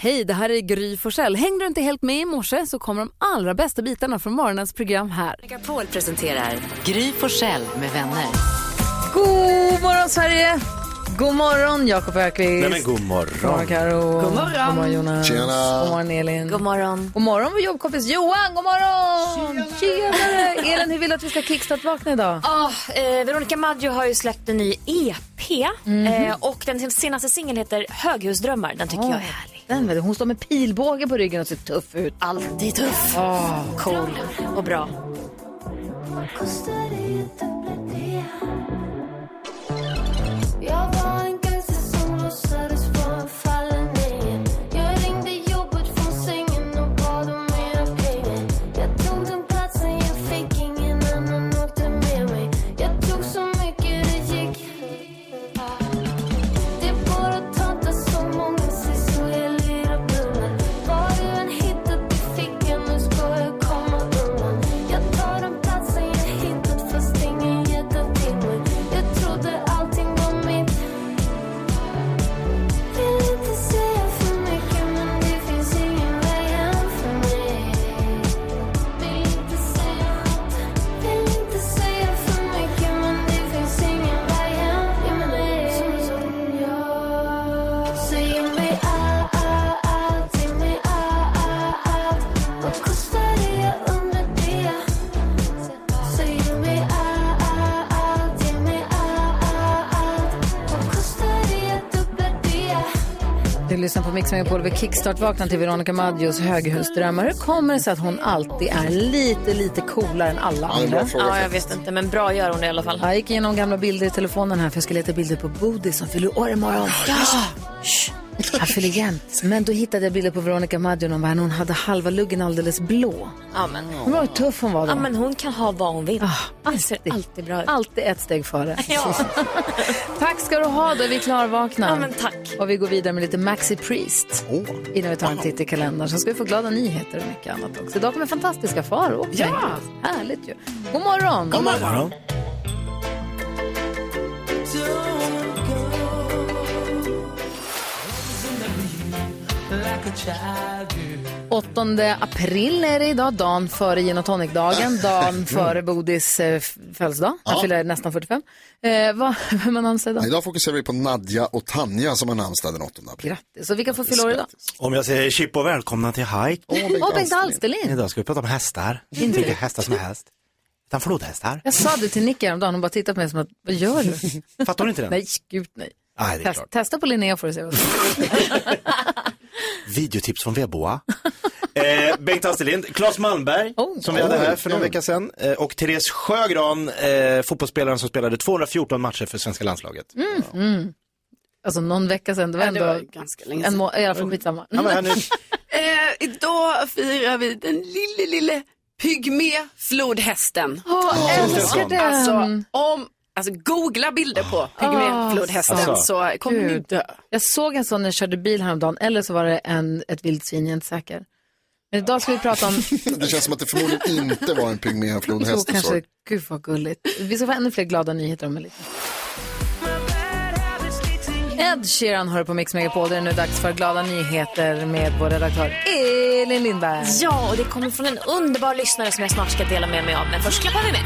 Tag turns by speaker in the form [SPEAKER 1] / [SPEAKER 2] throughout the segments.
[SPEAKER 1] Hej, det här är Gry Forssell. Hängde du inte helt med i morse så kommer de allra bästa bitarna från morgonens program här.
[SPEAKER 2] Megapol presenterar Gry Forssell med vänner.
[SPEAKER 1] God morgon Sverige! God morgon Jakob Ökvist.
[SPEAKER 3] Nej men god
[SPEAKER 1] God morgon
[SPEAKER 3] morgon.
[SPEAKER 1] Karo. God
[SPEAKER 2] morgon.
[SPEAKER 1] God morgon Jonas.
[SPEAKER 3] Tjena.
[SPEAKER 1] God morgon Elin.
[SPEAKER 2] God morgon.
[SPEAKER 1] God morgon vår jobbkompis Johan. God morgon! Tjenare! Elin, hur vill du att vi ska kickstart-vakna idag?
[SPEAKER 4] Ah, eh, Veronica Maggio har ju släppt en ny EP eh, och den senaste singeln heter Höghusdrömmar. Den tycker jag är härlig.
[SPEAKER 1] Den, vet du, hon står med pilbåge på ryggen och ser tuff ut.
[SPEAKER 4] Alltid tuff, cool och bra.
[SPEAKER 5] Jag var en gangster som låtsades vara en fallen ängel. Jag ringde jobbet från sängen och bad om mera pengar. Jag tog den platsen jag fick, ingen annan åkte med mig. Jag tog så mycket det gick. Det går att tanta så många sisor, jag lirar blunda. Vad du än hittat i fickan, nu ska jag komma undan. Jag tar den platsen jag hittat, fast ingen gett den till mig. Jag trodde allting var mitt. Vill inte säga för mycket, men det finns ingen väg hem för mig. Vill inte säga nåt. Vill inte säga för mycket, men det finns ingen väg hem för mig. Som- som jag. Säger mig ah, ah, ah, till mig ah, ah, ah. Vad kostar det? Jag undrar det. Säger mig ah, ah, ah, till mig ah, ah, ah. Vad kostar det? Jag dubblar det.
[SPEAKER 1] Du lyssnar på Mix Megapol vid kickstart-vaknar till Veronica Maggios höghusdrömmar. Hur kommer det sig att hon alltid är lite, lite coolare än alla andra?
[SPEAKER 4] Ja, jag vet inte, men bra gör hon det i alla fall.
[SPEAKER 1] Jag gick igenom gamla bilder i telefonen här för jag skulle leta bilder på Bodis som fyller år imorgon. Ja! Shh. Han fyller jämt. Men då hittade jag bilder på Veronica Maggio när hon hade halva luggen alldeles blå.
[SPEAKER 4] Ja, men,
[SPEAKER 1] Men vad tuff hon var då.
[SPEAKER 4] ja, men hon kan ha vad hon vill. Det ser alltid bra ut.
[SPEAKER 1] Alltid Ah. ett steg före.
[SPEAKER 4] Ja.
[SPEAKER 1] Tack ska du ha, då är vi klarvakna.
[SPEAKER 4] ja, men tack.
[SPEAKER 1] Och vi går vidare med lite Maxi Priest innan vi tar en titt i kalendern. Sen ska vi få glada nyheter och mycket annat också. Idag kommer fantastiska faror. Ja! Härligt ju. God morgon! God morgon.
[SPEAKER 3] morgon.
[SPEAKER 1] april är det idag, dagen före gin och tonic-dagen, dagen före Bodis eh, f- födelsedag. Han
[SPEAKER 6] Ja.
[SPEAKER 1] fyller nästan 45. Eh, vad, vem har namnsdag idag?
[SPEAKER 6] Idag fokuserar vi på Nadja och Tanja som har namnsdag den 8 april.
[SPEAKER 1] Grattis. Och vilka får fylla år idag?
[SPEAKER 3] Om jag säger chip och välkomna till hike.
[SPEAKER 6] Åh, Bengt
[SPEAKER 1] Åh, Bengt
[SPEAKER 6] Alsterlind.
[SPEAKER 1] Alsterlind!
[SPEAKER 3] Idag ska vi prata om hästar. Inte vilka hästar som är häst. Utan flodhästar.
[SPEAKER 1] Jag sa det till Nick häromdagen, hon bara tittade på mig som att, vad gör du?
[SPEAKER 3] Fattar du inte den?
[SPEAKER 1] nej, gud nej.
[SPEAKER 3] Nej, det är
[SPEAKER 1] Test,
[SPEAKER 3] klart.
[SPEAKER 1] testa på Linnea får du se. vad-
[SPEAKER 3] Videotips från Veboa. eh, Bengt Astelin, Claes Malmberg,
[SPEAKER 1] Oh.
[SPEAKER 3] som vi hade här
[SPEAKER 6] Oj,
[SPEAKER 3] för någon
[SPEAKER 6] kul.
[SPEAKER 3] vecka sedan. Eh, och Therese Sjögran, eh, fotbollsspelaren som spelade 214 matcher för svenska landslaget.
[SPEAKER 1] Alltså någon vecka sedan, det var ändå...
[SPEAKER 7] Det var ganska länge
[SPEAKER 1] En
[SPEAKER 7] sedan.
[SPEAKER 1] må- I alla fall skitsamma.
[SPEAKER 3] Han var här nu.
[SPEAKER 7] Eh, idag firar vi den lille, lille pygmé flodhästen.
[SPEAKER 1] Åh, jag älskar den!
[SPEAKER 7] Alltså, om, alltså googla bilder på pygmé flodhästen
[SPEAKER 3] Alltså,
[SPEAKER 7] så kommer ni
[SPEAKER 1] gud.
[SPEAKER 7] dö.
[SPEAKER 1] Jag såg en sån när jag körde bil häromdagen, eller så var det en, ett vildsvin, jag är inte säker. Men idag ska vi prata om,
[SPEAKER 6] Det känns som att det förmodligen inte var en
[SPEAKER 1] jo,
[SPEAKER 6] pygméflodhäst.
[SPEAKER 1] kanske, gud vad gulligt. Vi ska få ännu fler glada nyheter om en liten Ed Sheeran har du på Mix Megapol, det är nu dags för glada nyheter med vår redaktör Elin Lindberg.
[SPEAKER 4] Ja, och det kommer från en underbar lyssnare som jag snart ska dela med mig av. Men först klappar vi med.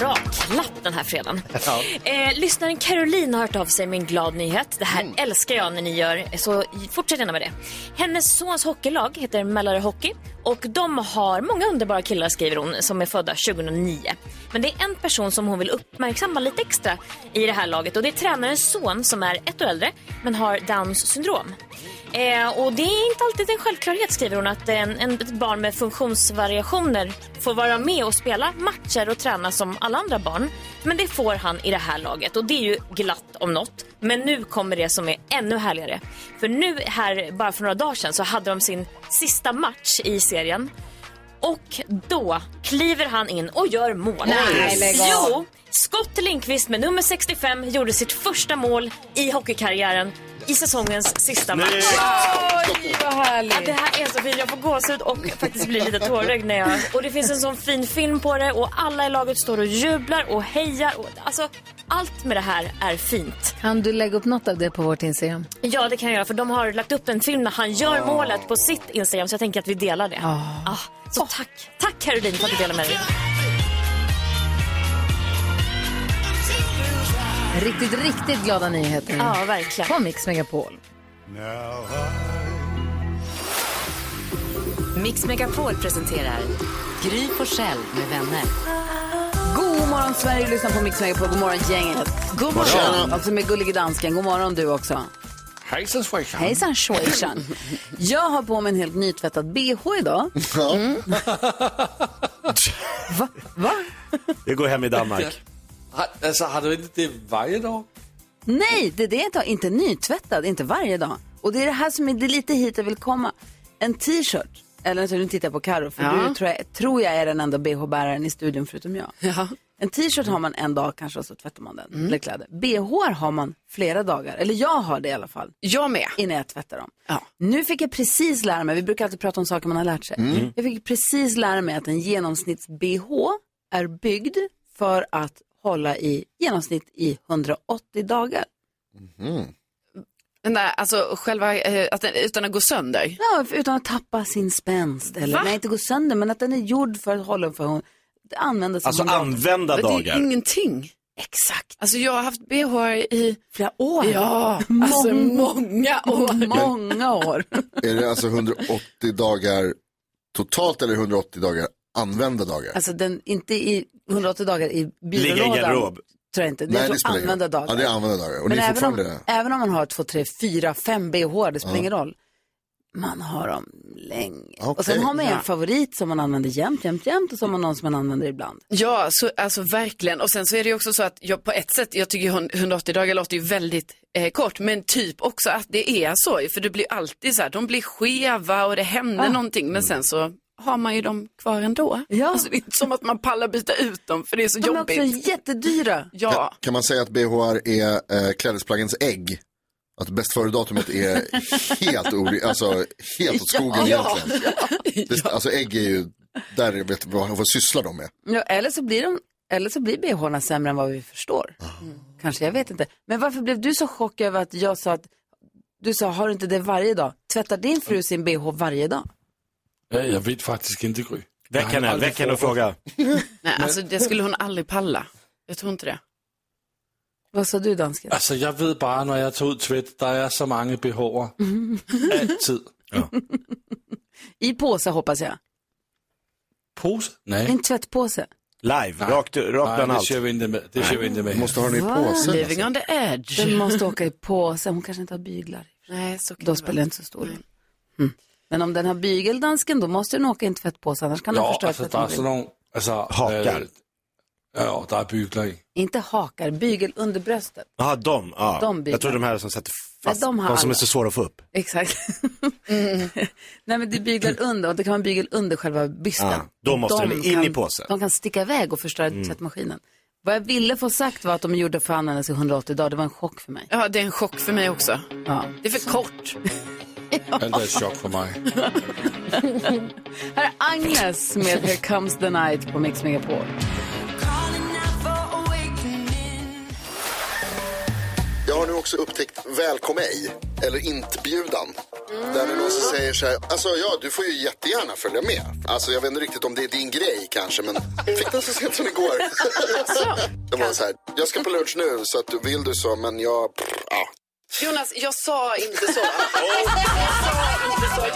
[SPEAKER 4] Bra klapp den här fredagen. Eh, lyssnaren Caroline har hört av sig med en glad nyhet. Det här älskar jag när ni gör, så fortsätt gärna med det. Hennes sons hockeylag heter Mälarö Hockey och de har många underbara killar skriver hon som är födda 2009. Men det är en person som hon vill uppmärksamma lite extra i det här laget och det är tränarens son som är ett år äldre men har Downs syndrom. Eh, och det är inte alltid en självklarhet skriver hon att en, en, ett barn med funktionsvariationer får vara med och spela matcher och träna som alla andra barn. Men det får han i det här laget och det är ju glatt om något. Men nu kommer det som är ännu härligare. För nu här bara för några dagar sedan så hade de sin sista match i serien. Och då kliver han in och gör mål.
[SPEAKER 1] Nej, lägg av.
[SPEAKER 4] jo, Scott Lindqvist med nummer 65 gjorde sitt första mål i hockeykarriären i säsongens sista match.
[SPEAKER 8] Oj, vad
[SPEAKER 4] Ja, det
[SPEAKER 8] härligt.
[SPEAKER 4] här är så fint. Jag får gåshud och faktiskt blir lite tårögd när jag... Och det finns en sån fin film på det och alla i laget står och jublar och hejar. Och, alltså, allt med det här är fint.
[SPEAKER 8] Kan du lägga upp något av det på vårt Instagram?
[SPEAKER 4] Ja, det kan jag göra för de har lagt upp en film när han gör målet på sitt Instagram så jag tänker att vi delar det. Ah, så tack. Tack Caroline för att du delar med dig.
[SPEAKER 8] Riktigt, riktigt glada nyheter.
[SPEAKER 4] Ja, verkligen.
[SPEAKER 8] På Mix Megapol.
[SPEAKER 2] Mix Megapol presenterar Gry på Själ med vänner.
[SPEAKER 1] God morgon Sverige, du lyssnar på Mix Megapol. God morgon gänget. God morgon. Alltså med gullige dansken. God morgon du också.
[SPEAKER 9] Hejsan svejsan.
[SPEAKER 1] Hejsan svejsan. Jag har på mig en helt nytvättad bh idag. Mm. Va? Va?
[SPEAKER 3] Det går hem i Danmark.
[SPEAKER 9] Ha, alltså, har du inte det varje dag?
[SPEAKER 1] Nej, det är det jag inte har. Inte nytvättad, inte varje dag. Och det är det här som är det är lite hit jag vill komma. En t-shirt, eller alltså, nu tittar jag på Karo för
[SPEAKER 7] Ja.
[SPEAKER 1] du tror jag, tror jag är den enda bh-bäraren i studion förutom jag. En t-shirt har man en dag kanske och så tvättar man den,
[SPEAKER 7] Mm.
[SPEAKER 1] eller kläder. Bh har man flera dagar, eller jag har det i alla fall.
[SPEAKER 7] Jag med.
[SPEAKER 1] Innan jag tvättar dem. Nu fick jag precis lära mig, vi brukar alltid prata om saker man har lärt sig.
[SPEAKER 7] Mm.
[SPEAKER 1] Jag fick precis lära mig att en genomsnitts-bh är byggd för att hålla i genomsnitt i 180 dagar.
[SPEAKER 7] Den där, alltså själva, eh, att den, utan att gå sönder.
[SPEAKER 1] Ja, för- utan att tappa sin spänst. Eller,
[SPEAKER 7] Va?
[SPEAKER 1] nej, inte gå sönder, men att den är gjord för att hålla för hon använda sig
[SPEAKER 3] Alltså
[SPEAKER 1] som en dator.
[SPEAKER 3] använda
[SPEAKER 7] Det
[SPEAKER 3] dagar.
[SPEAKER 7] är ingenting. Exakt. Alltså jag har haft bh i...
[SPEAKER 1] Flera år.
[SPEAKER 7] Ja, alltså många år.
[SPEAKER 1] Många år.
[SPEAKER 10] Är det alltså 180 dagar totalt eller 180 dagar använda dagar?
[SPEAKER 1] Alltså den, inte i 180 dagar i
[SPEAKER 3] Ligga i en
[SPEAKER 1] byrålådan.
[SPEAKER 3] garderob.
[SPEAKER 1] Tror jag inte. Det
[SPEAKER 10] Nej,
[SPEAKER 1] är så
[SPEAKER 10] spelar ingen roll.
[SPEAKER 1] använda dagar.
[SPEAKER 10] Ja, det är använda dagar. Och
[SPEAKER 1] men
[SPEAKER 10] det är
[SPEAKER 1] även
[SPEAKER 10] fortfarande
[SPEAKER 1] om,
[SPEAKER 10] det.
[SPEAKER 1] även om man har två, tre, fyra, fem bh, det spelar
[SPEAKER 10] Ja.
[SPEAKER 1] ingen roll. Man har dem länge.
[SPEAKER 10] Okej.
[SPEAKER 1] Och sen har man ju en
[SPEAKER 7] Ja.
[SPEAKER 1] favorit som man använder jämt, jämt, jämt och så har man någon som man använder ibland.
[SPEAKER 7] Ja, så, alltså verkligen. Och sen så är det ju också så att jag på ett sätt, jag tycker ju hund- 180 dagar låter ju väldigt eh, kort, men typ också att det är så, ju, för det blir alltid så här, de blir skeva och det händer någonting,
[SPEAKER 10] Mm.
[SPEAKER 7] men sen så har man ju dem kvar ändå.
[SPEAKER 1] Ah. Ja.
[SPEAKER 7] Alltså, det är inte som att man pallar byta ut dem, för det är så
[SPEAKER 1] De är
[SPEAKER 7] jobbigt.
[SPEAKER 1] också jättedyra.
[SPEAKER 7] Ja,
[SPEAKER 10] Kan man säga att BHR är eh, klädesplaggens ägg? Att bäst före-datumet är helt, ori- alltså, helt åt skogen
[SPEAKER 7] Ja.
[SPEAKER 10] egentligen. Det, Alltså ägg är ju, där jag vet vad, vad sysslar de med?
[SPEAKER 1] Ja, eller så blir, de, eller så blir bhna sämre än vad vi förstår.
[SPEAKER 9] Ah.
[SPEAKER 1] Kanske, jag vet inte. Men varför blev du så chockad över att jag sa att du sa, har du inte det varje dag? Tvättar din fru sin bh varje dag?
[SPEAKER 9] Ja, jag vet faktiskt inte Gry. Jag
[SPEAKER 3] Väck
[SPEAKER 9] har
[SPEAKER 3] henne,
[SPEAKER 9] aldrig
[SPEAKER 3] väck henne och
[SPEAKER 9] frågat.
[SPEAKER 3] fråga.
[SPEAKER 7] nej, alltså det skulle hon aldrig palla. Jag tror inte det.
[SPEAKER 10] Alltså-
[SPEAKER 1] Vad sa du dansken?
[SPEAKER 9] Alltså jag vet bara när jag tar ut tvätt, där är så många bh Alltid.
[SPEAKER 1] I påse hoppas jag.
[SPEAKER 9] Pose? Nej.
[SPEAKER 1] En tvättpåse.
[SPEAKER 3] Live, rakt, rakt
[SPEAKER 9] Nej,
[SPEAKER 3] bland
[SPEAKER 9] det
[SPEAKER 3] allt.
[SPEAKER 9] kör vi inte med. Det kör vi inte med.
[SPEAKER 10] Måste ha den i
[SPEAKER 1] Va?
[SPEAKER 10] påsen. Alltså.
[SPEAKER 7] Living on the edge.
[SPEAKER 1] Den måste åka i påse. Hon kanske inte har byglar.
[SPEAKER 7] Nej, så kan
[SPEAKER 1] Då
[SPEAKER 7] det
[SPEAKER 1] spelar
[SPEAKER 7] vara.
[SPEAKER 1] det inte så stor roll. Mm. Men om den har bygel dansken, då måste den åka i en tvättpåse. Annars kan den
[SPEAKER 9] Ja,
[SPEAKER 1] förstöra
[SPEAKER 9] alltså det är
[SPEAKER 1] tvättmaskinen.
[SPEAKER 9] sådan nogle, altså...
[SPEAKER 3] Hakar.
[SPEAKER 9] øh, ja, der er bygler i.
[SPEAKER 1] Inte hakar, bygel under bröstet.
[SPEAKER 3] Jaha, de. Ja.
[SPEAKER 1] De bitar.
[SPEAKER 3] jag tror de här som sätter fast,
[SPEAKER 1] Nej, de
[SPEAKER 3] de,
[SPEAKER 1] har
[SPEAKER 3] som är
[SPEAKER 1] alla.
[SPEAKER 3] så svåra att få upp.
[SPEAKER 1] Exakt.
[SPEAKER 7] Mm.
[SPEAKER 1] Nej men det är byglar under och det kan vara en bygel under själva bysten.
[SPEAKER 7] Ah,
[SPEAKER 3] Ja, då måste de in i påsen.
[SPEAKER 1] De kan sticka iväg och förstöra
[SPEAKER 7] Mm.
[SPEAKER 1] tvättmaskinen. Vad jag ville få sagt var att de gjorde för att användas i 180 dagar. Det var en chock för mig.
[SPEAKER 7] Ja, det är en chock för mig också.
[SPEAKER 1] Ja.
[SPEAKER 7] Det är för kort.
[SPEAKER 9] Alt er et chok for mig.
[SPEAKER 1] Här är Agnes med Here comes the night på Mix Megapol.
[SPEAKER 10] Jag har nu också upptäckt välkom ej, eller intbjudan. Där det är någon som säger så här, alltså ja, du får ju jättegärna följa med. Alltså jag vet inte riktigt om det är din grej kanske, men fick den så sent som igår. det var så här, jag ska på lunch nu så att du vill du så, men jag, ja.
[SPEAKER 7] Jonas, jag sa inte så.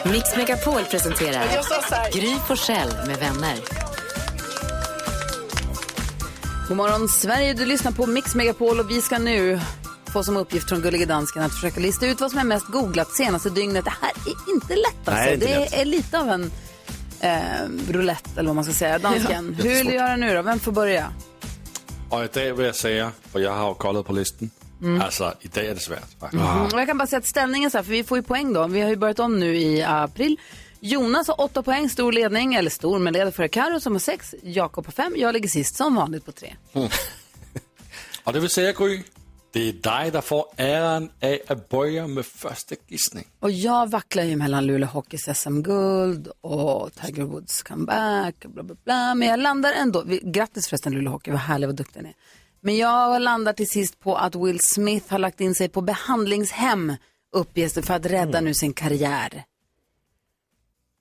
[SPEAKER 2] Mix Megapol presenterar
[SPEAKER 7] Jag sa så här.
[SPEAKER 2] Gry på Själ med vänner.
[SPEAKER 1] God morgon Sverige, du lyssnar på Mix Megapol och vi ska nu få som uppgift från Gullige Dansken att försöka lista ut vad som är mest googlat senaste dygnet. Det här är inte lätt alltså.
[SPEAKER 3] Nej, det är inte
[SPEAKER 1] det
[SPEAKER 3] lätt.
[SPEAKER 1] är lite av en eh, roulette eller vad man ska säga. Dansken, hur vill du göra nu då? Vem får börja?
[SPEAKER 9] Og i dag vil jeg sige, for jeg har jo koldet på listen. Altså, i dag er det svært, faktisk.
[SPEAKER 3] Ah.
[SPEAKER 1] Mm, och jag kan bara säga att ställningen så här, för vi får ju poäng då. Vi har ju börjat om nu i april. Jonas har åtta poäng, stor ledning, eller stor, men leder före Karo som har sex. Jakob har fem, jag ligger sist som vanligt på tre.
[SPEAKER 9] Og det vil sige, Gry, det er dig, der får æren af at bøje med første gissning.
[SPEAKER 1] Och jag vacklar ju mellan Luleå Hockeys SM-guld och Tiger Woods comeback, bla bla bla. Men jag landar ändå, vi- grattis förresten Luleå Hockey, vad härlig, vad duktig ni är. Men jag landar till sist på att Will Smith har lagt in sig på behandlingshem uppges det, för att rädda nu sin karriär.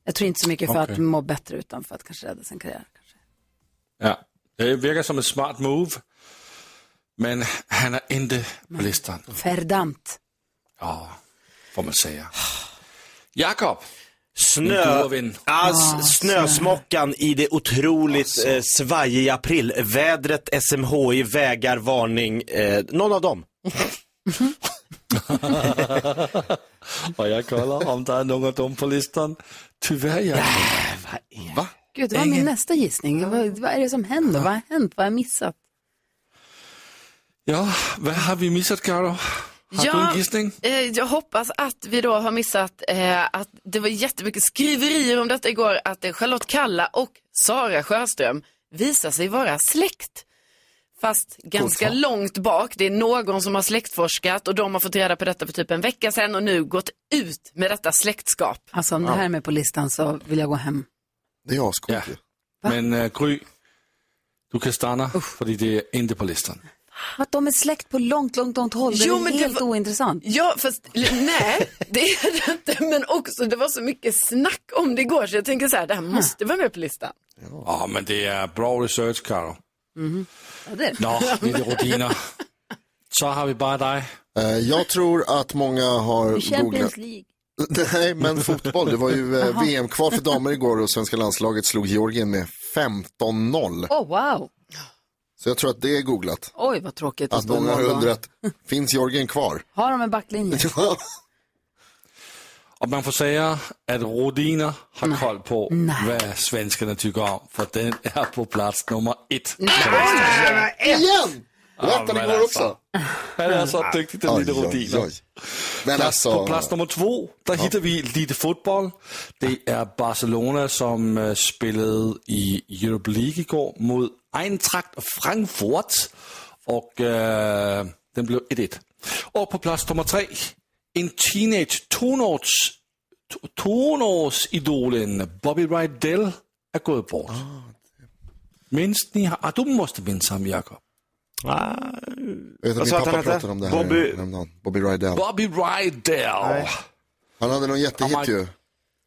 [SPEAKER 1] Jag tror inte så mycket för
[SPEAKER 9] Okej.
[SPEAKER 1] att må bättre utan för att kanske rädda sin karriär. Kanske.
[SPEAKER 9] Ja, det virker som et smart move, men han er ikke på listen.
[SPEAKER 1] Verdammt.
[SPEAKER 9] Åh, får man sige. Jakob,
[SPEAKER 3] Snö,
[SPEAKER 9] Gurvin.
[SPEAKER 3] ja,
[SPEAKER 1] Ah,
[SPEAKER 3] s- snösmockan i det otroligt eh, svajiga aprilvädret, SMHI, vägar, varning. Eh, någon av dem.
[SPEAKER 9] og jeg kolder, om der er nogen af dem på listen. Tyvärr, Jakob.
[SPEAKER 1] Gud, det var min nästa gissning. Vad, vad är det som händer? Vad har hänt? Vad har jag missat?
[SPEAKER 9] Ja, hvad har vi misset, Karo? Har
[SPEAKER 7] Ja.
[SPEAKER 9] du en gissning?
[SPEAKER 7] Eh, jag hoppas att vi då har missat eh, att det var jättemycket skriverier om detta igår att eh, Charlotte Kalla och Sara Sjöström visar sig vara släkt. Fast ganska långt bak. Det är någon som har släktforskat och de har fått reda på detta för typ en vecka sedan och nu gått ut med detta släktskap.
[SPEAKER 1] Alltså om det här är med på listan så vill jag gå hem.
[SPEAKER 10] Det är askul
[SPEAKER 9] Ja.
[SPEAKER 10] ju.
[SPEAKER 9] Men uh, Gry, du kan starte, fordi det er ikke på listen.
[SPEAKER 1] Att de är släkt på långt, långt, långt håll, det är
[SPEAKER 7] Jo,
[SPEAKER 1] väl
[SPEAKER 7] men det
[SPEAKER 1] helt
[SPEAKER 7] var-
[SPEAKER 1] ointressant.
[SPEAKER 7] Ja, fast l- nej, det är det inte. Men också, det var så mycket snack om det igår så jag tänker så här, det här måste vara med på listan.
[SPEAKER 9] Åh, men det er bra research, Karo.
[SPEAKER 1] Ja, det är det.
[SPEAKER 9] Nå, lille rutiner. Så har vi bare dig.
[SPEAKER 10] Eh, Jag tror att många har googlat.
[SPEAKER 1] Champions League.
[SPEAKER 10] Nej, men fotboll. Det var ju eh, VM-kval för damer igår och svenska landslaget slog Georgien med 15-0.
[SPEAKER 1] Åh, oh, wow.
[SPEAKER 10] Så jag tror att det är googlat.
[SPEAKER 1] Oj, vad tråkigt. Alltså,
[SPEAKER 10] Att många har undrat, finns Georgien kvar?
[SPEAKER 1] Har de en backlinje?
[SPEAKER 9] Og man får sige, at Rodiner har kold på, hvad svenskerne tykker om, for den er på plats nummer et.
[SPEAKER 10] Igen! Rätt
[SPEAKER 9] men
[SPEAKER 10] han igår
[SPEAKER 9] alltså.
[SPEAKER 10] också.
[SPEAKER 9] Han er så dygtig, den lille
[SPEAKER 10] Oj, oj,
[SPEAKER 9] Rodiner.
[SPEAKER 10] oj. Men
[SPEAKER 9] Plads, på
[SPEAKER 10] alltså,
[SPEAKER 9] plads nummer två, der hitter vi Lite Fodbold. Det er Barcelona, som øh, spillede i Europa League i går mod Eintracht Frankfurt, og øh, den blev 1-1. Og på plads nummer tre, en teenage tonårs, to- tonårsidolen Bobby Rydell er gået bort. Mindst ni har... Ah, du måste mindes ham, Jacob.
[SPEAKER 3] Ah,
[SPEAKER 10] jag vet att
[SPEAKER 3] Vad
[SPEAKER 10] min
[SPEAKER 3] sa att
[SPEAKER 10] pappa
[SPEAKER 3] han hette?
[SPEAKER 10] pratade om det här
[SPEAKER 3] Bobby-
[SPEAKER 10] häromdagen. Bobby Rydell.
[SPEAKER 9] Bobby Rydell.
[SPEAKER 10] Han hade någon jättehit ju.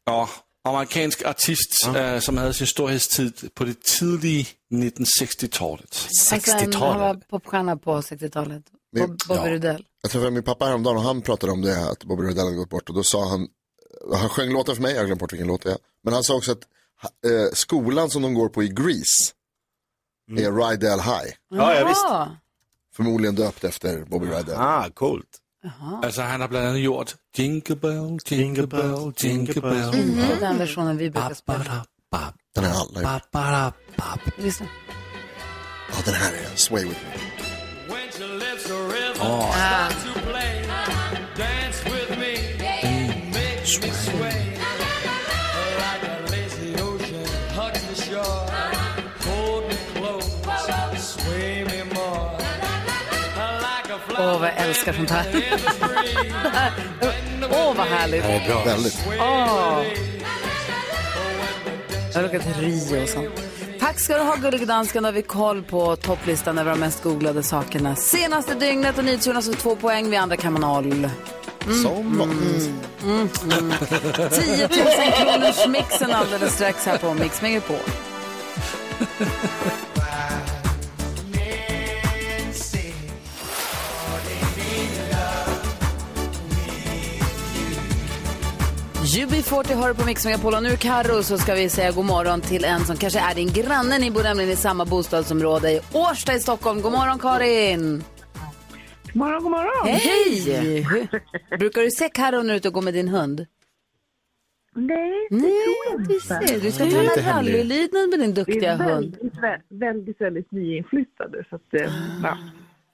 [SPEAKER 9] og amerikansk artist, øh, som havde sin storhedstid på det tidlige 1960-tallet.
[SPEAKER 1] Alltså, han var popstjärna på 60-talet.
[SPEAKER 10] Men-
[SPEAKER 1] Bob- Bobby Rydell.
[SPEAKER 10] Jag träffade min pappa häromdagen och han pratade om det, att Bobby Rydell hade gått bort. Och då sa han, han sjöng låten för mig, jag har glömt bort vilken låt det är. Men han sa också att eh, skolan som de går på i Grease
[SPEAKER 3] Mm.
[SPEAKER 10] är Rydell High.
[SPEAKER 3] Ja, ja visst.
[SPEAKER 1] Ja,
[SPEAKER 10] Förmodligen döpt efter Bobby Rydell.
[SPEAKER 3] Ah, coolt.
[SPEAKER 9] Altså, han har blandt andet gjort Jingle Bell, Jingle Bell, Jingle Bell. Mm-hmm.
[SPEAKER 1] det är den versionen vi brukar spela.
[SPEAKER 9] Ba-ba-da-ba,
[SPEAKER 10] Den är alla gjort.
[SPEAKER 9] ba-ba-da-ba.
[SPEAKER 1] Lyssna.
[SPEAKER 10] Ja, den här är Sway With Me.
[SPEAKER 1] Äh, Åh, vad jag älskar sånt här. Det här- Åh, vad härligt.
[SPEAKER 10] Väldigt.
[SPEAKER 1] Åh. Ah. Jag har åkt till Rio och sånt. Tack ska du ha, gullige dansken. Då har vi koll på topplistan över de mest googlade sakerna. Senaste dygnet och NyhetsJonas har två poäng. Vi andra Mm. kan man noll.
[SPEAKER 10] Som vanligt.
[SPEAKER 1] Mm. 10 000 kronors mixen alldeles strax här på Mix Megapol. UB40 har du på Mix Megapol och nu Karo så ska vi säga god morgon till en som kanske är din granne. Ni bor nämligen i samma bostadsområde i Årsta i Stockholm. God morgon Karin!
[SPEAKER 11] morgon, god morgon.
[SPEAKER 1] Hej! Hur- Brukar du se Karo när du är ute och går med din hund?
[SPEAKER 11] Nej, det
[SPEAKER 1] Nej,
[SPEAKER 11] tror jag
[SPEAKER 1] vi
[SPEAKER 11] inte.
[SPEAKER 1] ser. Du ska träna rallylydnad med din
[SPEAKER 11] Vi
[SPEAKER 1] duktiga
[SPEAKER 11] är
[SPEAKER 1] hund.
[SPEAKER 11] väldigt, vä- väldigt, väldigt nyinflyttade. Så att, eh, ja.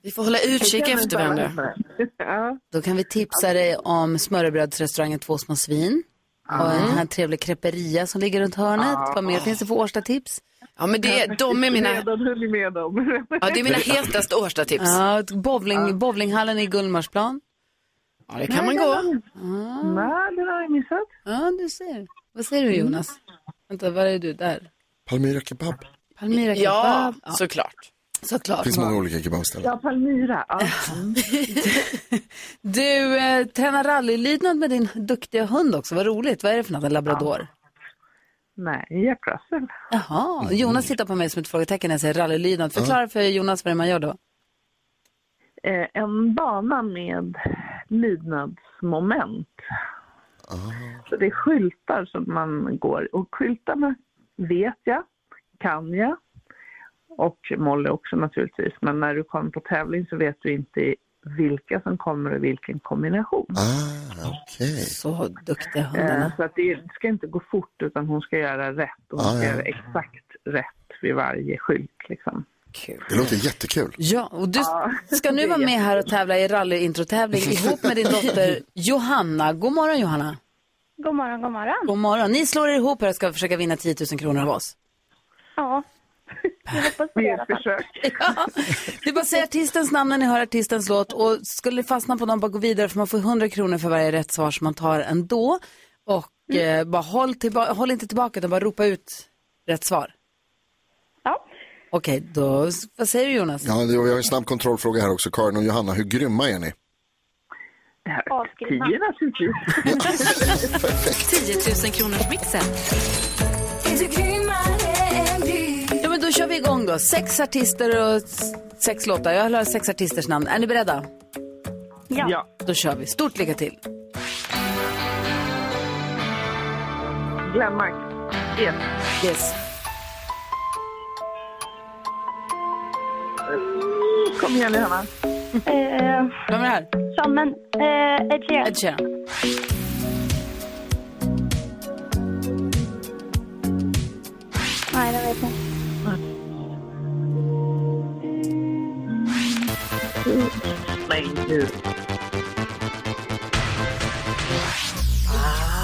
[SPEAKER 7] Vi får hålla utkik efter varandra.
[SPEAKER 11] Ja,
[SPEAKER 1] Då kan vi tipsa dig om smörrebrödsrestaurangen Två små svin. Och den här trevliga creperia som ligger runt hörnet. Vad mer finns det för årstatips?
[SPEAKER 7] Ja, men det, de är mina,
[SPEAKER 11] Redan höll ju med dem.
[SPEAKER 7] ja, det är mina hetaste Årstatips.
[SPEAKER 1] Ja, ett bowling, bowlinghallen i Gullmarsplan.
[SPEAKER 7] Ja, det kan man gå. Ah.
[SPEAKER 11] Nej, det har jag missat.
[SPEAKER 1] Ja, du ser. Vad säger du Jonas? Vänta, var är du där?
[SPEAKER 6] Palmyra kebab.
[SPEAKER 1] Palmyra
[SPEAKER 7] Ja,
[SPEAKER 1] kebab. Ja,
[SPEAKER 7] såklart.
[SPEAKER 6] Det
[SPEAKER 1] såklart.
[SPEAKER 6] finns många olika kebabställen.
[SPEAKER 11] Ja, Palmyra. Ja.
[SPEAKER 1] Du eh, tränar rallylydnad med din duktiga hund också. Vad roligt. Vad är det för något? En labrador?
[SPEAKER 11] Nej, Jack Russell.
[SPEAKER 1] Jaha. Jonas tittar på mig som ett frågetecken när jag säger rallylydnad. Förklara för Jonas vad det är man gör då.
[SPEAKER 11] Eh, en bana med lydnadsmoment.
[SPEAKER 6] Ah.
[SPEAKER 11] Så det är skyltar som man går och skyltarna vet jag, kan jag och Molly också naturligtvis. Men när du kommer på tävling så vet du inte vilka som kommer och vilken kombination.
[SPEAKER 6] Ah, okej.
[SPEAKER 1] Så duktiga
[SPEAKER 6] Ah.
[SPEAKER 1] hundarna.
[SPEAKER 11] Eh, Så att det ska inte gå fort utan hon ska göra rätt och hon
[SPEAKER 6] Ah,
[SPEAKER 11] ska
[SPEAKER 6] ja.
[SPEAKER 11] göra exakt rätt vid varje skylt liksom.
[SPEAKER 1] Kul.
[SPEAKER 6] Det låter jättekul.
[SPEAKER 1] Ja, och du
[SPEAKER 11] Ja,
[SPEAKER 1] ska nu
[SPEAKER 11] det är
[SPEAKER 1] vara med här och tävla i rallyointrotävling ihop med din dotter Johanna. God morgon Johanna.
[SPEAKER 5] God morgon, god morgon.
[SPEAKER 1] God morgon. Ni slår er ihop här och ska försöka vinna 10 000 kronor av oss.
[SPEAKER 5] Ja. Jag hoppas det i
[SPEAKER 11] Vi
[SPEAKER 5] alla
[SPEAKER 11] är
[SPEAKER 5] fall.
[SPEAKER 11] försök.
[SPEAKER 1] Det är bara att säga artistens namn när ni hör artistens låt och skulle det fastna på någon bara gå vidare för man får 100 kronor för varje rätt svar som man tar ändå. Och eh, bara håll, tillba- håll inte tillbaka utan bara ropa ut rätt svar.
[SPEAKER 5] Ja.
[SPEAKER 1] Okej, då, vad säger du Jonas?
[SPEAKER 6] Ja, det- och jag har en snabb kontrollfråga här också. Karin och Johanna, hur grymma är ni?
[SPEAKER 5] Avskrivna.
[SPEAKER 11] Tio naturligtvis.
[SPEAKER 2] 10 000 kronors mixen.
[SPEAKER 1] Ja men då kör vi igång då. Sex artister och s- sex låtar. Jag har sex artisters namn. Är ni beredda?
[SPEAKER 11] Ja.
[SPEAKER 1] Då kör vi. Stort lycka till.
[SPEAKER 11] Glenmark. Yes.
[SPEAKER 1] Yes.
[SPEAKER 11] Kom igen nu Hanna.
[SPEAKER 5] Eh,
[SPEAKER 1] Vem är det här?
[SPEAKER 5] Sammen. Eh, Ed Sheeran.
[SPEAKER 1] Ed Sheeran.
[SPEAKER 5] Nej, det vet jag inte.
[SPEAKER 11] Nej, nu.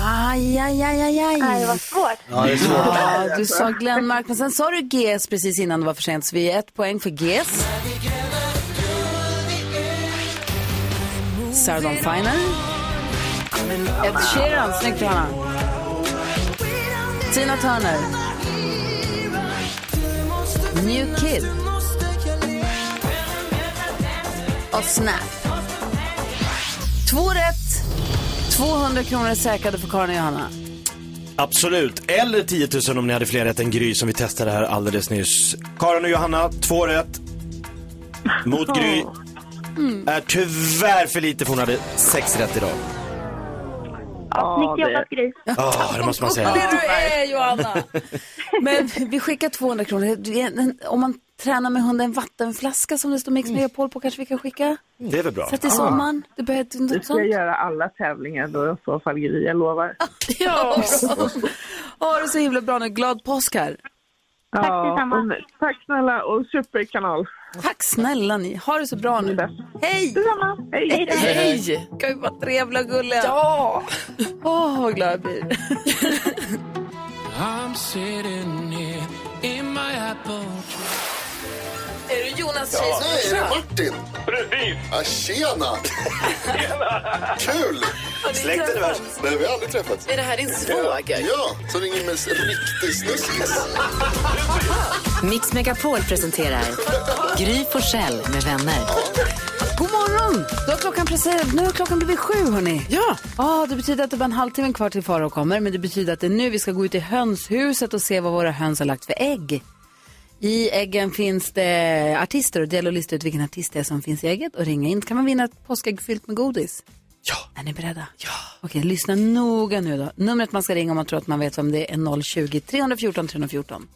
[SPEAKER 1] Aj, aj, aj, aj,
[SPEAKER 5] Nej,
[SPEAKER 1] aj.
[SPEAKER 5] det var svårt.
[SPEAKER 3] Ja, det är svårt.
[SPEAKER 1] Ja, du sa Glenmark, men sen sa du GS precis innan det var för sent, så vi är ett poäng för GS. Sarah Dawn Finer. Ed Sheeran, snyggt Johanna. Tina Turner. New Kid. Och Snap. Två rätt. 200 kronor är säkrade för Karin och Johanna.
[SPEAKER 3] Absolut. Eller 10 000 om ni hade fler rätt än Gry som vi testade här alldeles nyss. Karin och Johanna, två rätt. Mot Gry. Är tyvärr för lite för hon hade sex rätt idag.
[SPEAKER 11] Ja,
[SPEAKER 5] Snyggt jobbat, Gry.
[SPEAKER 3] Ja, Ah, det måste man säga.
[SPEAKER 1] Det du är Johanna! Men vi skickar 200 kronor. Det är en- Om man tränar med hunden en vattenflaska som det står
[SPEAKER 11] Mm.
[SPEAKER 1] Mix Megapol på kanske vi kan skicka?
[SPEAKER 3] Det är väl bra. Ah.
[SPEAKER 1] Så att det är sommaren. Det behöver
[SPEAKER 11] Det
[SPEAKER 1] något
[SPEAKER 11] ska jag
[SPEAKER 1] sånt.
[SPEAKER 11] göra alla tävlingar då i så fall, Gry. Jag lovar.
[SPEAKER 1] Ja, bra. Ha det så himla bra nu. Glad påsk här.
[SPEAKER 11] Ja,
[SPEAKER 5] detsamma.
[SPEAKER 11] och Tack snälla och superkanal.
[SPEAKER 1] Tack snälla ni. Ha det så bra nu. Hej!
[SPEAKER 11] Detsamma. Hej.
[SPEAKER 7] Hej!
[SPEAKER 1] Kan vi vara trevliga och gulliga?
[SPEAKER 7] Ja!
[SPEAKER 1] Åh, vad glad jag blir. Är du Jonas tjej som
[SPEAKER 6] Nej, är det Martin?
[SPEAKER 12] Precis!
[SPEAKER 6] Ah, tjena! Kul!
[SPEAKER 3] Släkten är värst.
[SPEAKER 6] Nej, vi har aldrig träffats.
[SPEAKER 7] Är det här din svåger?
[SPEAKER 6] Ja, så ringer med riktig snuskis.
[SPEAKER 2] Mix Megapol presenterar Gry Forssell med vänner.
[SPEAKER 1] God morgon! Då har klockan precis, nu har klockan blivit sju, hörni.
[SPEAKER 7] Ja.
[SPEAKER 1] Ah, det betyder att det bara en halvtimme kvar till Farao kommer, men det betyder att det är nu vi ska gå ut i hönshuset och se vad våra höns har lagt för ägg. I äggen finns det artister och det gäller att lista ut vilken artist det är som finns i ägget och ringa in. Kan man vinna ett påskägg fyllt med godis? Ja. Är ni beredda? Ja. Okej, lyssna noga nu då. Numret man ska ringa om man tror att man vet vem det är är 020 314 314.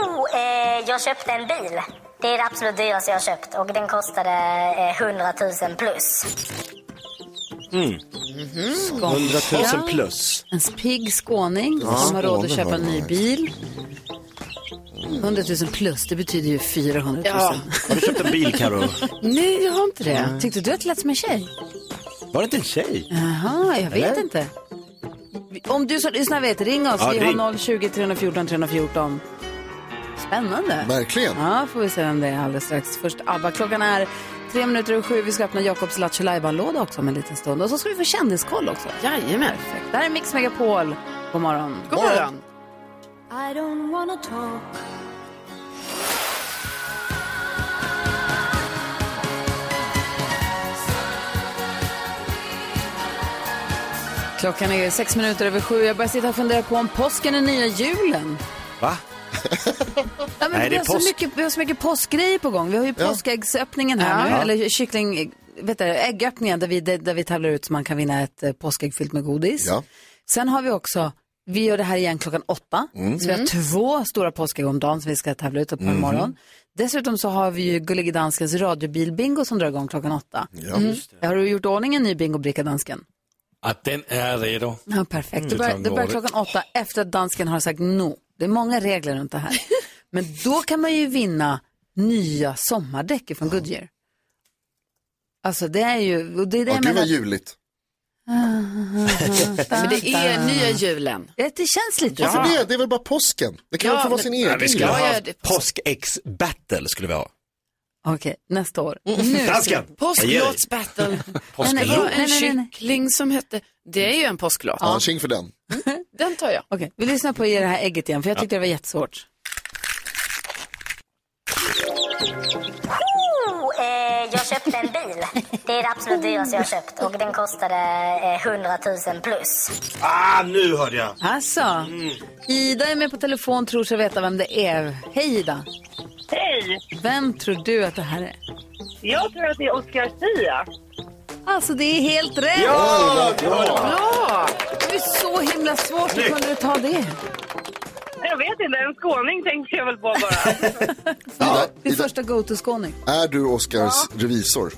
[SPEAKER 5] Oh, eh, jag köpte en bil. Det är det absolut dyraste jag har köpt och den kostade eh, 100 000 plus.
[SPEAKER 3] 100 000 plus.
[SPEAKER 1] En pigg skåning
[SPEAKER 6] Ja,
[SPEAKER 1] som har råd att
[SPEAKER 6] skåning
[SPEAKER 1] köpa en
[SPEAKER 6] har
[SPEAKER 1] ny
[SPEAKER 6] det.
[SPEAKER 1] bil. 100 000 plus, det betyder ju 400 000.
[SPEAKER 3] Har du köpt en bil Karo?
[SPEAKER 1] Nej, jag har inte det. Tyckte du att det lät som en tjej?
[SPEAKER 3] Var det inte en tjej?
[SPEAKER 1] Jaha, jag vet
[SPEAKER 3] Eller?
[SPEAKER 1] inte. Om du som lyssnar vet, ring oss.
[SPEAKER 3] Ja,
[SPEAKER 1] vi
[SPEAKER 3] ring.
[SPEAKER 1] har 020 314 314. Spännande.
[SPEAKER 6] Verkligen.
[SPEAKER 1] Ja, får vi se vem det är alldeles strax. Först ABBA. Klockan är tre minuter över sju. Vi ska öppna Jakobs Lattjo låda också om en liten stund. Och så ska vi få kändiskoll också.
[SPEAKER 7] Jajamän.
[SPEAKER 1] Perfekt. Det här är Mix Megapol. God morgon.
[SPEAKER 7] God morgon.
[SPEAKER 5] I don't wanna talk.
[SPEAKER 1] Klockan är sex minuter över sju. Jag börjar sitta och fundera på om påsken är nya julen.
[SPEAKER 3] Va?
[SPEAKER 1] Ja, men
[SPEAKER 3] Nej,
[SPEAKER 1] vi,
[SPEAKER 3] det är
[SPEAKER 1] har så
[SPEAKER 3] påsk.
[SPEAKER 1] mycket, vi har så mycket påskgrejer på gång. Vi har ju påskäggsöppningen här
[SPEAKER 3] Ja.
[SPEAKER 1] nu, eller kyckling, vet du, äggöppningen där vi, där, där vi tävlar ut så man kan vinna ett eh, påskägg fyllt med godis.
[SPEAKER 6] Ja.
[SPEAKER 1] Sen har vi också, vi gör det här igen klockan åtta,
[SPEAKER 3] Mm.
[SPEAKER 1] så vi har två stora påskägg om dagen som vi ska tävla ut på
[SPEAKER 3] Mhm.
[SPEAKER 1] imorgon. Dessutom så har vi ju Gullige Danskens radiobilbingo som drar igång klockan åtta. Mm. Har du gjort ordning en ny bingobricka, dansken?
[SPEAKER 9] Ja, den är redo.
[SPEAKER 1] Ja, perfekt.
[SPEAKER 6] Mm.
[SPEAKER 1] Det
[SPEAKER 9] det
[SPEAKER 1] börjar,
[SPEAKER 9] kan
[SPEAKER 1] det
[SPEAKER 9] gå
[SPEAKER 1] börjar
[SPEAKER 9] det.
[SPEAKER 1] klockan åtta efter att dansken har sagt no. Det är många regler runt det här. Men då kan man ju vinna nya sommardäck från Goodyear. Alltså det är ju, och det är det
[SPEAKER 6] Ja,
[SPEAKER 1] jag
[SPEAKER 6] gud
[SPEAKER 1] menar.
[SPEAKER 6] vad ljuvligt.
[SPEAKER 7] Men det är nya julen.
[SPEAKER 1] Det det känns lite så.
[SPEAKER 6] Varför det? Det är väl bara påsken? Det kan
[SPEAKER 7] Ja,
[SPEAKER 6] väl få vara
[SPEAKER 7] men-
[SPEAKER 6] sin
[SPEAKER 3] Nej,
[SPEAKER 6] egen
[SPEAKER 3] vi skulle
[SPEAKER 7] Ja,
[SPEAKER 3] ha
[SPEAKER 7] ja,
[SPEAKER 3] haft
[SPEAKER 7] det-
[SPEAKER 3] påskäggs-battle skulle vi ha.
[SPEAKER 1] Okej, nästa år.
[SPEAKER 6] Mm.
[SPEAKER 1] Nu.
[SPEAKER 3] Dansken! Vad ger dig?
[SPEAKER 7] Påsklåtsbattle.
[SPEAKER 1] Nej,
[SPEAKER 7] Det
[SPEAKER 1] nej,
[SPEAKER 7] var
[SPEAKER 1] nej,
[SPEAKER 7] en
[SPEAKER 1] nej, nej.
[SPEAKER 7] kyckling som hette... Det är ju en påsklåt.
[SPEAKER 6] Ja, tjing för den.
[SPEAKER 7] Den tar jag.
[SPEAKER 1] Okej, vi lyssnar på er det här ägget igen, för jag tyckte det var jättesvårt.
[SPEAKER 12] Eh, jag köpte en bil. Det är det absolut dyraste jag har köpt och den kostade eh, 100 000 plus.
[SPEAKER 3] Ah, nu hörde jag!
[SPEAKER 1] Alltså, Ida är med på telefon, tror sig veta vem det är. Hej Ida!
[SPEAKER 11] Hej!
[SPEAKER 1] Vem tror du att det här är?
[SPEAKER 11] Jag tror att det är Oscar Sia.
[SPEAKER 1] Alltså det är helt rätt!
[SPEAKER 3] Ja, bra!
[SPEAKER 1] Bra! Det var ju så himla svårt. Hur
[SPEAKER 3] Snyggt.
[SPEAKER 1] kunde du ta det?
[SPEAKER 11] Jag vet inte, en skåning tänkte jag väl på bara.
[SPEAKER 6] Ida,
[SPEAKER 1] Det är
[SPEAKER 6] Ida,
[SPEAKER 1] första go-to-skåning.
[SPEAKER 6] är du Oscars revisor?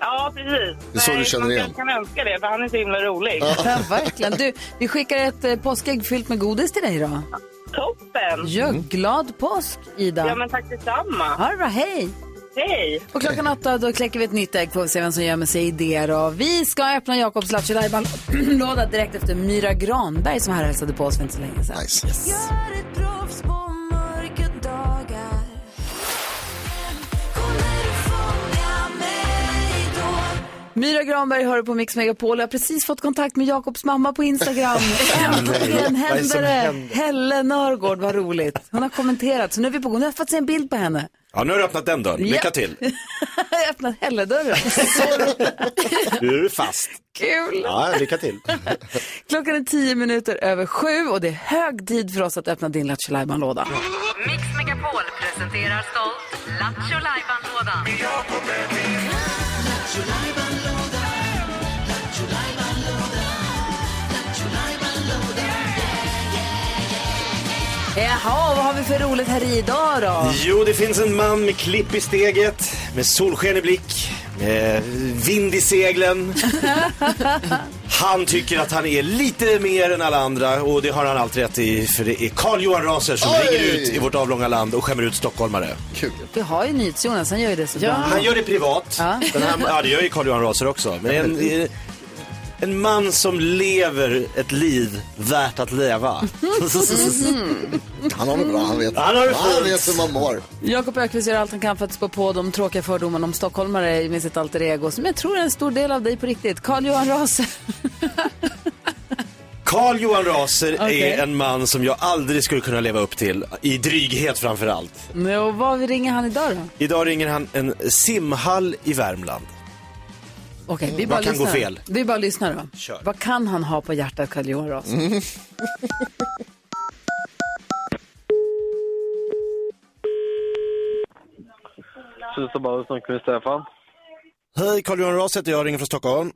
[SPEAKER 11] Ja, precis.
[SPEAKER 6] Det är så du känner
[SPEAKER 11] man
[SPEAKER 6] igen.
[SPEAKER 11] kan önska det, för han är så himla rolig.
[SPEAKER 1] Ja, verkligen. Du, vi skickar ett eh, påskägg fyllt med godis till dig då.
[SPEAKER 11] Toppen!
[SPEAKER 1] Gör
[SPEAKER 3] Mm.
[SPEAKER 1] glad påsk,
[SPEAKER 11] Ja,
[SPEAKER 1] Ida.
[SPEAKER 11] men tack detsamma.
[SPEAKER 1] Ha det bra, hej!
[SPEAKER 11] Hej!
[SPEAKER 1] Och klockan åtta då kläcker vi ett nytt ägg, får vi se vem som gömmer sig i det då. Vi ska öppna Jakobs Lattjo-låda direkt efter Myra Granberg som här hälsade på oss för inte så länge sedan.
[SPEAKER 6] Nice.
[SPEAKER 5] Gör ett proffs på mörka dagar. Kommer du fånga mig då?
[SPEAKER 1] Myra Granberg hör på Mix Megapol. Jag har precis fått kontakt med Jakobs mamma på Instagram. Äntligen
[SPEAKER 3] Vad är det
[SPEAKER 1] händer
[SPEAKER 3] som
[SPEAKER 1] det.
[SPEAKER 3] händer?
[SPEAKER 1] Helle Nörgård, vad roligt. Hon har kommenterat, så nu är vi på gång. Nu har jag fått se en bild på henne.
[SPEAKER 3] Ja, nu har du öppnat den dörren. Lycka
[SPEAKER 1] Ja.
[SPEAKER 3] till.
[SPEAKER 1] Jag har öppnat Helle-dörren.
[SPEAKER 3] Du är fast.
[SPEAKER 1] Kul!
[SPEAKER 3] Ja, lycka till.
[SPEAKER 1] Klockan är tio minuter över sju och det är hög tid för oss att öppna din Lattjo låda
[SPEAKER 2] Mix Megapol presenterar stolt Lattjo Lajban-lådan.
[SPEAKER 1] Jaha, vad har vi för roligt här idag då?
[SPEAKER 3] Jo, det finns en man med klipp i steget, med solsken i blick, med vind i seglen. Han tycker att han är lite mer än alla andra och det har han allt rätt i för det är Carl-Johan Raser som
[SPEAKER 6] Oj!
[SPEAKER 3] ringer ut i vårt avlånga land och skämmer ut stockholmare.
[SPEAKER 6] Kul.
[SPEAKER 1] Vi har ju NyhetsJonas, han gör ju det så bra.
[SPEAKER 3] Han gör det privat.
[SPEAKER 1] Ja.
[SPEAKER 3] Den här, ja, det gör ju Carl-Johan Raser också. Men en, en man som lever ett liv värt att leva.
[SPEAKER 1] Mm-hmm.
[SPEAKER 6] Han har det bra, han vet.
[SPEAKER 3] Han har det fint.
[SPEAKER 6] vet hur man mår.
[SPEAKER 1] Jakob Ökvist gör allt han kan för att spå på de tråkiga fördomarna om stockholmare med sitt alter ego som jag tror är en stor del av dig på riktigt. Carl-Johan Raser.
[SPEAKER 3] Carl Johan Raser
[SPEAKER 1] Okej.
[SPEAKER 3] är en man som jag aldrig skulle kunna leva upp till, i dryghet framför allt.
[SPEAKER 1] Nej, Och vad ringer han idag då?
[SPEAKER 3] Idag ringer han en simhall i Värmland.
[SPEAKER 1] Okej, vi bara
[SPEAKER 3] Vad kan
[SPEAKER 1] lyssnar.
[SPEAKER 3] gå fel?
[SPEAKER 1] Vi bara lyssnar då.
[SPEAKER 3] Kör. Mm,
[SPEAKER 1] Vad kan han ha på hjärtat, Carl-Johan Raser?
[SPEAKER 13] Susa Bauer snackar med Stefan.
[SPEAKER 3] Hej, Carl Johan Raser heter jag, ringer från Stockholm.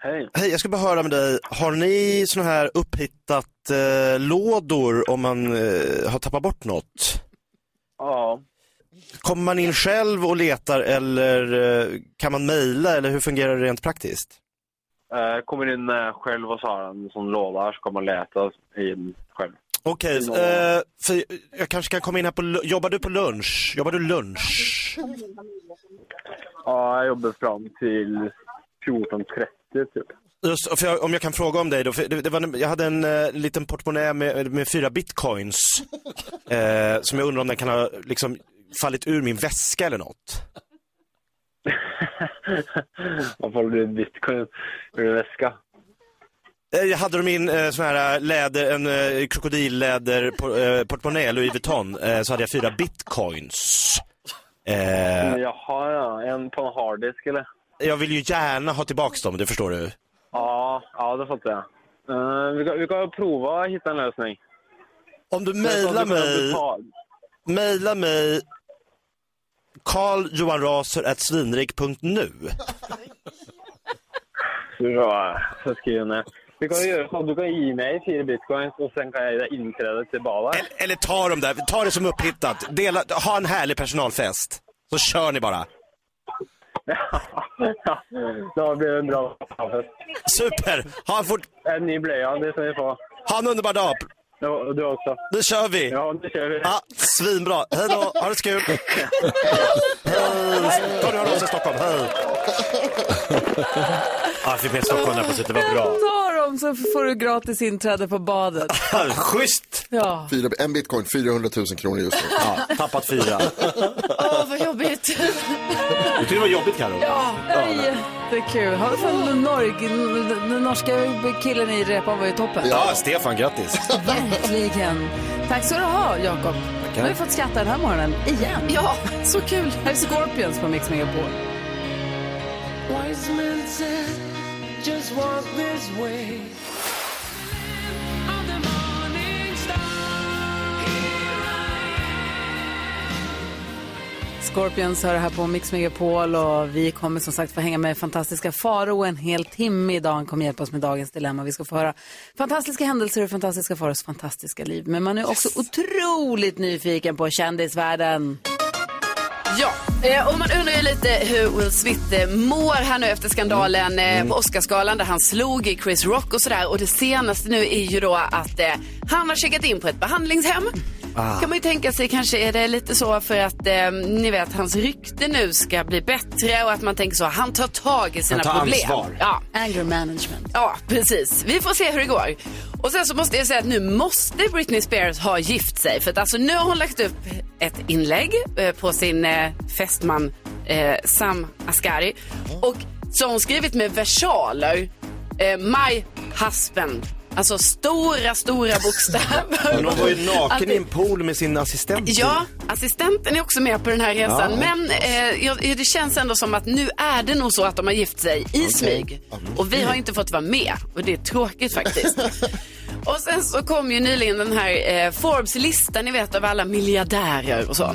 [SPEAKER 13] Hej.
[SPEAKER 3] Hej, jag ska bara höra med dig. Har ni sådana här upphittat eh, lådor om man eh, har tappat bort något?
[SPEAKER 13] Ja.
[SPEAKER 3] Kommer man in själv och letar eller eh, kan man mejla eller hur fungerar det rent praktiskt?
[SPEAKER 13] Eh, kommer in eh, själv och så har han en sån låda här så kan man leta in själv.
[SPEAKER 3] Okej,
[SPEAKER 13] Ja.
[SPEAKER 3] eh, för jag kanske kan komma in här på... lu- Jobbar du på lunch? Jobbar du lunch?
[SPEAKER 13] Ja, jag jobbar fram till 14.30 typ.
[SPEAKER 3] Just, för jag, om jag kan fråga om dig då, för det, det var, jag hade en eh, liten portmonnä med, med fyra bitcoins. eh, som jag undrar om den kan ha liksom, fallit ur min väska eller något.
[SPEAKER 13] Man får bli bitcoin ur en väska.
[SPEAKER 3] Eh, Jag hade dem i en eh, sån här läder, en eh, krokodilläder por, eh, portmonnä, Louis Vuitton, eh, så hade jag fyra bitcoins. Eh,
[SPEAKER 13] Jaha, ja. En på en harddisk eller?
[SPEAKER 3] jag vill ju gärna ha tillbaks dem, det förstår du.
[SPEAKER 13] Ja, ja det fattar jag. Eh, vi, kan, vi kan prova att hitta en lösning.
[SPEAKER 3] Om du mejlar mig, mejla mig karljohanraser.svinrik.nu
[SPEAKER 13] Bra, så skriver jag ner. Vi kan göra så att du kan ge mig fyra bitcoins och sen kan jag ge dig inträde till baren.
[SPEAKER 3] Eller ta dem där, ta det som upphittat. Dela, ha en härlig personalfest. Så kör ni bara.
[SPEAKER 13] Ja, det blir en bra fest.
[SPEAKER 3] Super! Ha en, fort...
[SPEAKER 13] en ny blöja, det ska Äh, ni få.
[SPEAKER 3] Ha en underbar dag!
[SPEAKER 13] Du också.
[SPEAKER 3] Nu kör vi!
[SPEAKER 13] Ja, nu kör vi.
[SPEAKER 3] Ja, svinbra. Hej då, ha det så kul! Hej! Kom nu har du Stockholm, hej! Ja, jag fick med Stockholm där på slutet, det var bra.
[SPEAKER 1] Ta dem så får du gratis inträde på badet.
[SPEAKER 3] Schysst!
[SPEAKER 1] Ja.
[SPEAKER 6] Fyra, en bitcoin, 400 000 kronor just nu.
[SPEAKER 3] Ja, tappat fyra.
[SPEAKER 7] Åh, vad jobbigt.
[SPEAKER 3] Du tyckte det var jobbigt Carro?
[SPEAKER 1] Ja, jättekul. Har du fått Norge, den norska killen i repan var ju toppen.
[SPEAKER 3] Ja, Stefan, grattis.
[SPEAKER 1] Verkligen. Tack ska du ha, Jakob. Nu har vi fått skratta den här morgonen igen. Ja, så kul. Här är Scorpions på Mix Megapol.
[SPEAKER 5] Wise men said, just walk this way.
[SPEAKER 1] Scorpions hör här på Mix Megapol och vi kommer som sagt få hänga med fantastiska Faro en hel timme idag. Han kommer hjälpa oss med dagens dilemma. Vi ska få höra fantastiska händelser och fantastiska Faros fantastiska liv. Men man är också otroligt nyfiken på kändisvärlden.
[SPEAKER 7] Ja, eh, och man undrar ju lite hur Will Smith eh, mår här nu efter skandalen
[SPEAKER 1] Mm.
[SPEAKER 7] eh, på Oscarsgalan där han slog i Chris Rock och sådär. Och det senaste nu är ju då att eh, han har checkat in på ett behandlingshem.
[SPEAKER 5] Ah.
[SPEAKER 7] Kan man ju tänka sig kanske är det lite så för att eh, ni vet hans rykte nu ska bli bättre och att man tänker så han tar tag i sina
[SPEAKER 1] Han tar
[SPEAKER 7] problem.
[SPEAKER 1] ansvar.
[SPEAKER 7] Ja.
[SPEAKER 1] Anger management.
[SPEAKER 7] Ja, precis. Vi får se hur det går. Och sen så måste jag säga att nu måste Britney Spears ha gift sig. För att alltså nu har hon lagt upp ett inlägg eh, på sin eh, fästman eh, Sam Asghari. Och så har hon skrivit med versaler, eh, my husband. Alltså stora, stora bokstäver.
[SPEAKER 3] Men hon var ju
[SPEAKER 7] Att
[SPEAKER 3] naken
[SPEAKER 7] det-
[SPEAKER 3] i en pool med sin assistent.
[SPEAKER 7] Ja, assistenten är också med på den här resan.
[SPEAKER 3] Ja.
[SPEAKER 7] Men eh, ja, det känns ändå som att nu är det nog så att de har gift sig i smyg. Och vi har inte fått vara med och det är tråkigt faktiskt. och sen så kom ju nyligen den här eh, Forbes-listan, ni vet, av alla miljardärer och så.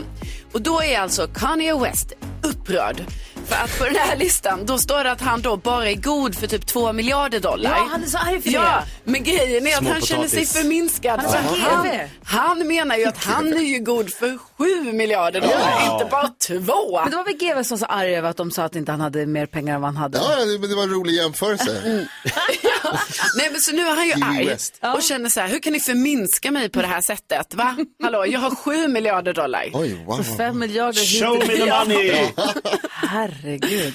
[SPEAKER 7] Och då är alltså Kanye West upprörd. För att på den här listan, då står det att han då bara är god för typ 2 miljarder dollar.
[SPEAKER 5] Ja, han är så arg för det.
[SPEAKER 7] Ja, men grejen är att
[SPEAKER 5] Små
[SPEAKER 7] han känner sig
[SPEAKER 5] potatis.
[SPEAKER 7] förminskad.
[SPEAKER 5] Han är
[SPEAKER 7] för
[SPEAKER 5] så
[SPEAKER 7] han,
[SPEAKER 5] GV.
[SPEAKER 7] han menar ju att han är ju god för 7 miljarder dollar,
[SPEAKER 1] Ja.
[SPEAKER 7] inte bara två.
[SPEAKER 1] Men det var väl GW som var så arg över att de sa att inte han hade mer pengar än vad han hade.
[SPEAKER 6] Ja, det, men det var en rolig jämförelse.
[SPEAKER 1] Mm.
[SPEAKER 7] Nej, men så nu är han ju
[SPEAKER 6] Kanye
[SPEAKER 7] arg
[SPEAKER 6] West.
[SPEAKER 7] och känner så här, hur kan ni förminska mig på det här sättet? Va? Hallå, jag har 7 miljarder dollar.
[SPEAKER 6] Oj, wow.
[SPEAKER 1] Fem miljarder hit
[SPEAKER 7] Show
[SPEAKER 1] och
[SPEAKER 7] me the
[SPEAKER 1] dit.
[SPEAKER 7] money.
[SPEAKER 1] Herregud.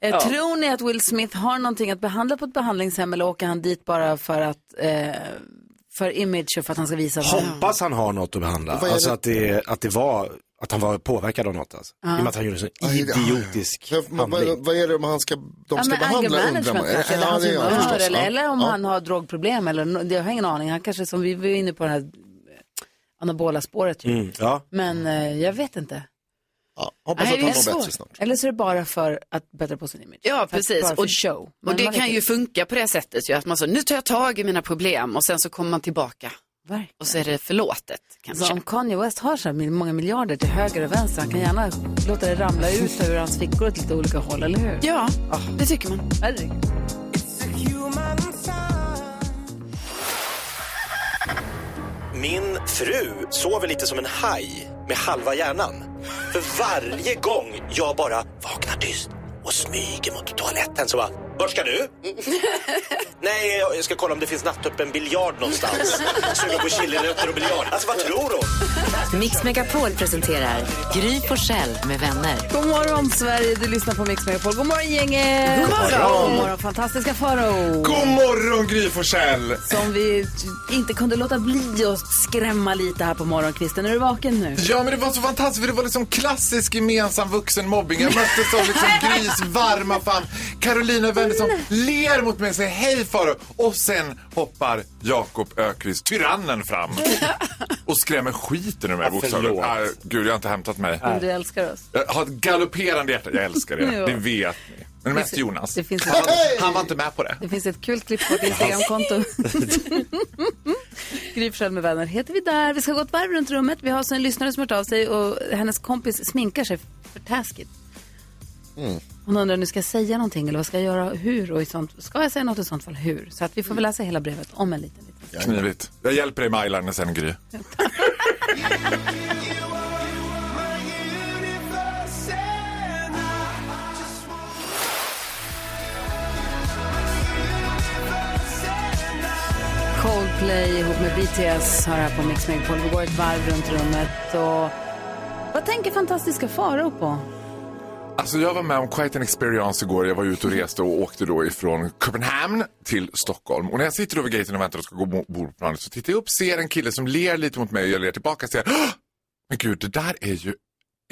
[SPEAKER 1] Eh,
[SPEAKER 7] Ja.
[SPEAKER 1] Tror ni att Will Smith har någonting att behandla på ett behandlingshem eller åker han dit bara för att eh, för image och för att han ska visa vad han-
[SPEAKER 3] Hoppas han har något att behandla.
[SPEAKER 1] Vad är det?
[SPEAKER 3] Alltså att det, att det var, att han var påverkad av något alltså.
[SPEAKER 1] Ja.
[SPEAKER 3] I och med att han gjorde en sån idiotisk
[SPEAKER 6] Vad, vad-
[SPEAKER 3] handling.
[SPEAKER 6] vad är det de, han ska, de ska
[SPEAKER 1] men anger
[SPEAKER 6] behandla undrar man?
[SPEAKER 1] management alltså, kanske,
[SPEAKER 6] Ja,
[SPEAKER 1] eller hans
[SPEAKER 6] det är jag
[SPEAKER 1] humör,
[SPEAKER 6] förstås.
[SPEAKER 1] eller,
[SPEAKER 6] Ja.
[SPEAKER 1] eller om
[SPEAKER 6] Ja.
[SPEAKER 1] han har drogproblem eller nå- det- jag har ingen aning. Han kanske som vi var inne på det här eh, anabola spåret ju.
[SPEAKER 3] Mm, ja.
[SPEAKER 1] Men eh, jag vet inte.
[SPEAKER 6] hoppas att
[SPEAKER 1] det är
[SPEAKER 6] han mår
[SPEAKER 1] svårt.
[SPEAKER 6] bättre snart.
[SPEAKER 1] Eller så är det bara för att bättra på sin image.
[SPEAKER 7] Ja,
[SPEAKER 1] För att-
[SPEAKER 7] precis.
[SPEAKER 1] Bara för show.
[SPEAKER 7] och
[SPEAKER 1] Men
[SPEAKER 7] det
[SPEAKER 1] man typ- vet
[SPEAKER 7] kan ju
[SPEAKER 1] inte.
[SPEAKER 7] funka på det sättet ju, att man så, nu tar jag tag i mina problem och sen så kommer man tillbaka.
[SPEAKER 1] Verkligen.
[SPEAKER 7] Och så är det förlåtet kanske.
[SPEAKER 1] Så om Kanye West har så här mil- många miljarder till höger och vänster, han kan gärna låta det ramla ut över hans fickor åt lite olika håll, eller hur?
[SPEAKER 7] Ja, det tycker man.
[SPEAKER 1] Herregud.
[SPEAKER 3] Min fru sover lite som en haj med halva hjärnan. För varje gång jag bara vaknar tyst och smyger mot toaletten så bara Vart ska du? Nej, jag jag ska kolla om det finns nattöppen biljard någonstans. Suga på chilinötter och biljard. Alltså, vad tror hon?
[SPEAKER 2] Mix Megapol presenterar Gry på med vänner.
[SPEAKER 1] God morgon Sverige, du lyssnar på Mix Megapol. God morgon gänget!
[SPEAKER 2] God morgon!
[SPEAKER 1] God morgon fantastiska Farao!
[SPEAKER 14] God morgon Gry Forssell!
[SPEAKER 1] Som vi inte kunde låta bli att skrämma lite här på morgonkvisten. Är du vaken nu?
[SPEAKER 14] Ja men det var så fantastiskt för det var liksom klassisk gemensam vuxenmobbing. Jag möttes av liksom Grys varma famn. Carolina Wennerson ler mot mig och säger hej Farao. Och sen hoppar Jakob Ökvist, tyrannen, fram. Och skrämmer skiten ur mig
[SPEAKER 1] Ja,
[SPEAKER 14] bokstavligen.
[SPEAKER 1] förlåt.
[SPEAKER 14] Ah, gud, jag har inte hämtat mig.
[SPEAKER 1] Om du älskar oss.
[SPEAKER 14] Jag har ett galopperande hjärta. Jag älskar
[SPEAKER 1] Ja.
[SPEAKER 14] er, det vet ni. Men mest Jonas.
[SPEAKER 1] det finns-
[SPEAKER 14] han, han var inte med på det.
[SPEAKER 1] Det finns ett kul klipp på vårt Instagramkonto. Gry Forssell med vänner heter vi där. Vi ska gå ett varv runt rummet. Vi har så en lyssnare som hört av sig och hennes kompis sminkar sig för taskigt. Hon undrar nu ska jag säga någonting eller vad ska jag göra, hur och i sånt. Ska jag säga något i sånt fall, hur? Så att vi får väl läsa hela brevet om en liten liten.
[SPEAKER 14] Knivigt. Jag hjälper dig med eyeliner sen, Gry.
[SPEAKER 1] Coldplay ihop med BTS har här på Mix Megapol. Vi går ett varv runt rummet och vad tänker fantastiska Farao på?
[SPEAKER 14] Alltså jag var med om quite an experience igår. Jag var ute och reste och åkte då ifrån Köpenhamn till Stockholm. Och när jag sitter över gaten och väntar och ska gå ombord på planet så tittar jag upp, ser en kille som ler lite mot mig och jag ler tillbaka och säger "Åh! Men gud, det där är ju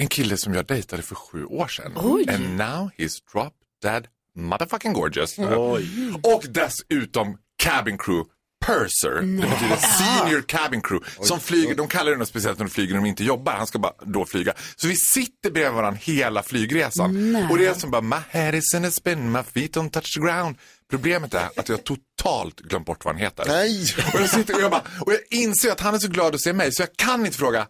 [SPEAKER 14] en kille som jag dejtade för sju år sedan.
[SPEAKER 5] Oj.
[SPEAKER 14] And now he's drop dead motherfucking gorgeous.
[SPEAKER 5] Oj.
[SPEAKER 14] Och dessutom cabin crew. Purser, det betyder senior cabin crew, som flyger, de kallar det något speciellt när de flyger när de inte jobbar, han ska bara då flyga. Så vi sitter bredvid varandra hela flygresan.
[SPEAKER 5] Nej.
[SPEAKER 14] Och det är som bara, my head is in a spin, my feet don't touch the ground. Problemet är att jag totalt glömt bort vad han heter. Nej. Och jag sitter och jag bara, och jag inser att han är så glad att se mig så jag kan inte fråga,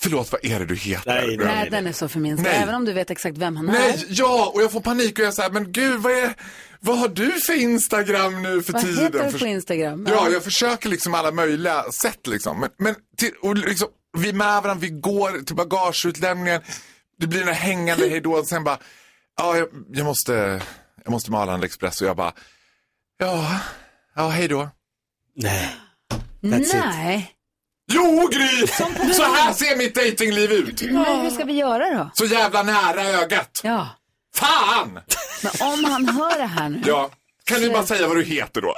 [SPEAKER 14] förlåt vad är det du heter?
[SPEAKER 1] Nej, den är så förminskad.
[SPEAKER 14] Nej.
[SPEAKER 1] Även om du vet exakt vem han är.
[SPEAKER 14] Nej, ja, och jag får panik och jag säger men gud vad är, vad har du för Instagram nu för
[SPEAKER 1] Vad
[SPEAKER 14] tiden?
[SPEAKER 1] heter du
[SPEAKER 14] Förs-
[SPEAKER 1] på Instagram?
[SPEAKER 14] Ja, jag försöker liksom alla möjliga sätt liksom. Men, men till, och liksom, vi är med varandra, vi går till bagageutlämningen. Det blir den här hängande hejdå och sen bara, ja, jag, jag måste, jag måste med Arlanda Express och jag bara, ja, ja, hejdå. Nej.
[SPEAKER 1] Nej.
[SPEAKER 14] Jo, Gry! Så här ser mitt datingliv ut.
[SPEAKER 1] Men hur ska vi göra då?
[SPEAKER 14] Så jävla nära ögat.
[SPEAKER 1] Ja.
[SPEAKER 14] Fan!
[SPEAKER 1] Men om han hör det här nu.
[SPEAKER 14] Ja. Kan du bara säga vad du heter då?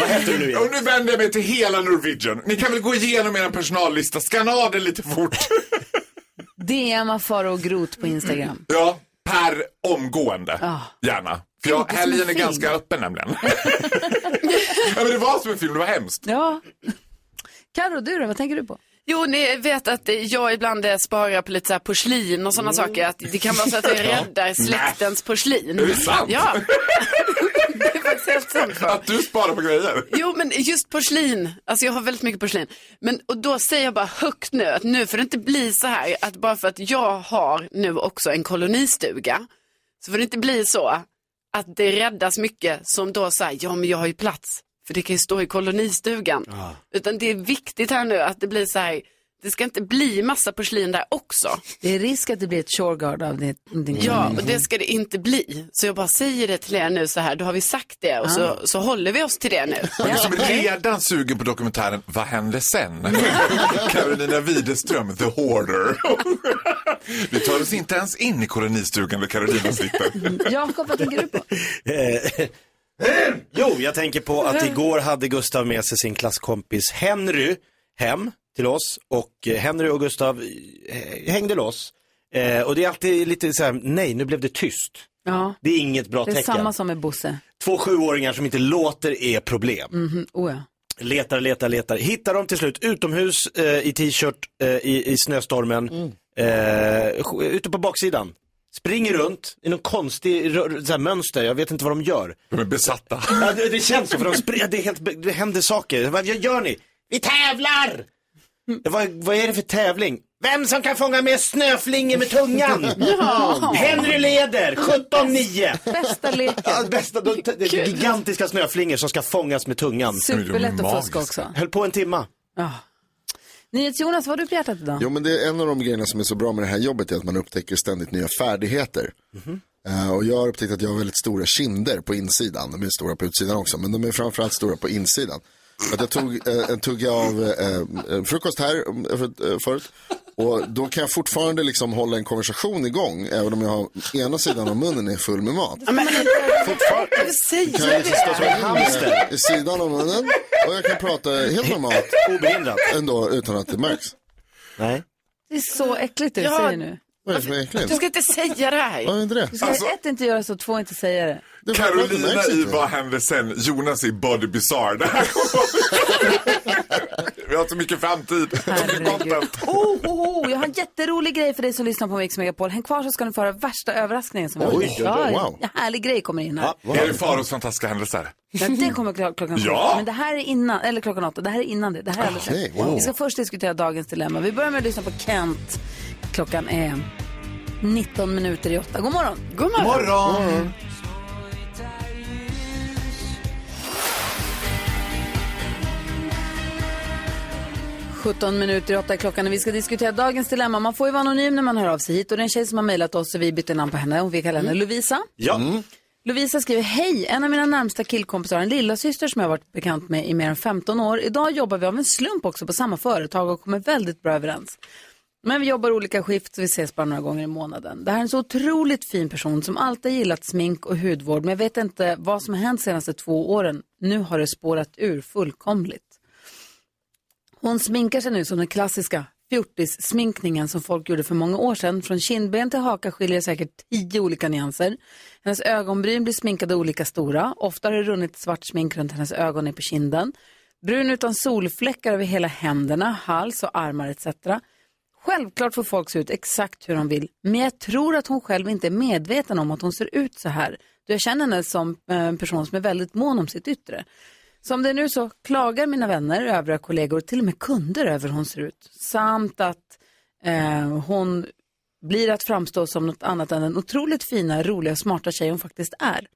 [SPEAKER 14] vad heter du nu Och nu vänder jag mig till hela Norwegian. Ni kan väl gå igenom er personallista, skanna av den lite fort.
[SPEAKER 1] DMa Farao Groth på Instagram.
[SPEAKER 14] Ja, per omgående. Gärna. För jag,
[SPEAKER 1] Inte som en
[SPEAKER 14] helgen är
[SPEAKER 1] film.
[SPEAKER 14] ganska öppen nämligen. ja, men det var som en film, det var hemskt.
[SPEAKER 1] Ja. Karo, du då? Vad tänker du på?
[SPEAKER 7] Jo, ni vet att eh, jag ibland eh, sparar på lite så här porslin och sådana saker. Att det kan vara så att jag
[SPEAKER 14] Mm. Ja.
[SPEAKER 7] räddar släktens porslin.
[SPEAKER 14] Är det sant?
[SPEAKER 7] Ja. det är faktiskt helt sant.
[SPEAKER 14] Att du sparar på grejer.
[SPEAKER 7] Jo, men just porslin. Alltså jag har väldigt mycket porslin. Men, och då säger jag bara högt nu att nu får det inte bli så här att bara för att jag har nu också en kolonistuga så får det inte bli så att det räddas mycket som då säger ja men jag har ju plats för det kan ju stå i kolonistugan. Utan det är viktigt här nu att det blir så här, det ska inte bli massa porslin där också.
[SPEAKER 1] Det är risk att det blir ett shoreguard av din, din
[SPEAKER 7] Ja, och det ska det inte bli. Så jag bara säger det till er nu så här, då har vi sagt det och så, så håller vi oss till det nu.
[SPEAKER 14] Men du som är redan sugen på dokumentären Vad hände sen? Carolina Widerström, The Hoarder. Vi tar oss inte ens in i kolonistugan där Carolina sitter.
[SPEAKER 1] Jakob, vad tänker du på?
[SPEAKER 3] Eh, jo, jag tänker på att igår hade Gustav med sig sin klasskompis Henry hem till oss och eh, Henry och Gustav eh, hängde loss. Eh, och det är alltid lite så här, nej nu blev det tyst.
[SPEAKER 1] Ja.
[SPEAKER 3] Det är inget bra
[SPEAKER 1] Det är
[SPEAKER 3] tecken.
[SPEAKER 1] samma som med Bosse.
[SPEAKER 3] Två sjuåringar som inte låter är problem.
[SPEAKER 1] Mhm, oh, ja.
[SPEAKER 3] Letar, letar, letar. Hittar dem till slut utomhus eh, i t-shirt eh, i, i snöstormen. Eh, sj- ute på baksidan. Springer runt i någon konstig rö- så här mönster. Jag vet inte vad de gör.
[SPEAKER 14] De är besatta.
[SPEAKER 3] Ja, det, det känns så. För de spr- det, är helt, be- det händer saker. Vad gör ni? Vi tävlar! Det var, vad är det för tävling? Vem som kan fånga mer snöflingor med tungan?
[SPEAKER 5] Ja.
[SPEAKER 3] Henry leder, 17-9.
[SPEAKER 1] Bästa leken.
[SPEAKER 3] Ja, bästa, de, de, de gigantiska snöflingor som ska fångas med tungan.
[SPEAKER 1] Superlätt att fuska också.
[SPEAKER 3] Höll på en timma.
[SPEAKER 1] NyhetsJonas, vad har du på hjärtat idag?
[SPEAKER 6] Jo, men det är en av de grejerna som är så bra med det här jobbet är att man upptäcker ständigt nya färdigheter.
[SPEAKER 10] Eh, Och jag har upptäckt att jag har väldigt stora kinder på insidan. De är stora på utsidan också, men de är framförallt stora på insidan. För Att jag tog eh, en tugga av eh, eh, frukost här eh, för, eh, förut. Och då kan jag fortfarande liksom hålla en konversation igång, även om jag har ena sidan av munnen är full med mat.
[SPEAKER 1] Varför säger
[SPEAKER 10] Kan jag liksom stå som en hamster
[SPEAKER 1] det?
[SPEAKER 10] Eh, i sidan av munnen och jag kan prata helt normalt. Obehindrat. Ändå utan att det märks. Nej.
[SPEAKER 1] Det är så äckligt det du
[SPEAKER 7] Ja,
[SPEAKER 1] säger nu.
[SPEAKER 10] Vad är det som är
[SPEAKER 7] Du
[SPEAKER 10] äckligt?
[SPEAKER 7] ska inte säga det här.
[SPEAKER 10] Vad är inte det?
[SPEAKER 1] Du ska
[SPEAKER 14] Alltså-
[SPEAKER 1] ett inte göra så, två inte säga det.
[SPEAKER 14] Carolina i Vad händer sen? Jonas i Body Bizarre. Det här kommer- Vi har inte mycket framtid.
[SPEAKER 1] Oh, oh, oh, jag har en jätterolig grej för dig som lyssnar på Mix Megapol. Häng kvar så ska ni få höra värsta överraskningen som jag
[SPEAKER 14] Oj,
[SPEAKER 1] har.
[SPEAKER 14] oj, oj,
[SPEAKER 1] Ja,
[SPEAKER 14] wow.
[SPEAKER 1] En härlig grej kommer in här.
[SPEAKER 14] Är det Faros fantastiska händelser?
[SPEAKER 1] Ja, det kommer klo- klockan
[SPEAKER 14] Ja.
[SPEAKER 1] åtta. Men det här är innan, eller klockan åtta. Det här är innan det. Det här är alldeles
[SPEAKER 14] Okej,
[SPEAKER 1] rätt.
[SPEAKER 14] wow.
[SPEAKER 1] Vi ska först diskutera dagens dilemma. Vi börjar med att lyssna på Kent. Klockan är 19 minuter i åtta. God morgon. God
[SPEAKER 14] morgon.
[SPEAKER 1] ...17 minuter i åtta är klockan och vi ska diskutera dagens dilemma. Man får ju vara anonym när man hör av sig hit och det är en tjej som har mejlat oss och vi bytte namn på henne och vi kallar henne Lovisa.
[SPEAKER 3] Ja.
[SPEAKER 1] Lovisa skriver, hej, en av mina närmsta killkompisar har en lilla syster som jag har varit bekant med i mer än 15 år. Idag jobbar vi av en slump också på samma företag och kommer väldigt bra överens. Men vi jobbar olika skift så vi ses bara några gånger i månaden. Det här är en så otroligt fin person som alltid har gillat smink och hudvård men jag vet inte vad som har hänt de senaste två åren. Nu har det spårat ur fullkomligt. Hon sminkar sig nu som den klassiska fjortis-sminkningen som folk gjorde för många år sedan. Från kindben till haka skiljer det säkert tio olika nyanser. Hennes ögonbryn blir sminkade olika stora. Ofta har det runnit svart smink runt hennes ögon ner på kinden. Brun utan solfläckar över hela händerna, hals och armar etc. Självklart får folk se ut exakt hur de vill, men jag tror att hon själv inte är medveten om att hon ser ut så här. Då jag känner henne som eh, en person som är väldigt mån om sitt yttre. Som det är nu så klagar mina vänner, övriga kollegor och till och med kunder över hur hon ser ut. Samt att eh, hon blir att framstå som något annat än den otroligt fina, roliga och smarta tjej hon faktiskt är.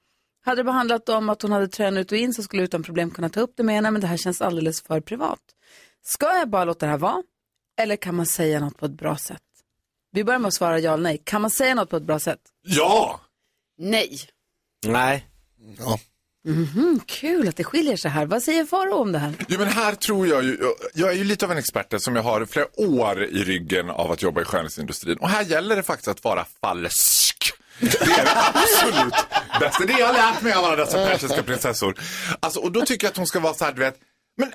[SPEAKER 1] Hade det behandlat om att hon hade trän ut och in så skulle jag utan problem kunna ta upp det med henne, men det här känns alldeles för privat. Ska jag bara låta det här vara? Eller kan man säga något på ett bra sätt? Vi börjar med att svara ja eller nej. Kan man säga något på ett bra sätt?
[SPEAKER 14] Ja!
[SPEAKER 1] Nej.
[SPEAKER 3] Nej.
[SPEAKER 10] Ja.
[SPEAKER 1] Mhm, kul att det skiljer sig här. Vad säger Faro om det här?
[SPEAKER 14] Jo, men här tror jag ju, jag- jag är ju lite av en expert där, som jag har flera år i ryggen av att jobba i skönhetsindustrin. Och här gäller det faktiskt att vara falsk. Det är det absolut bästa. Det jag har lärt mig av alla dessa persiska prinsessor. Alltså, och då tycker jag att hon ska vara så här, du vet, men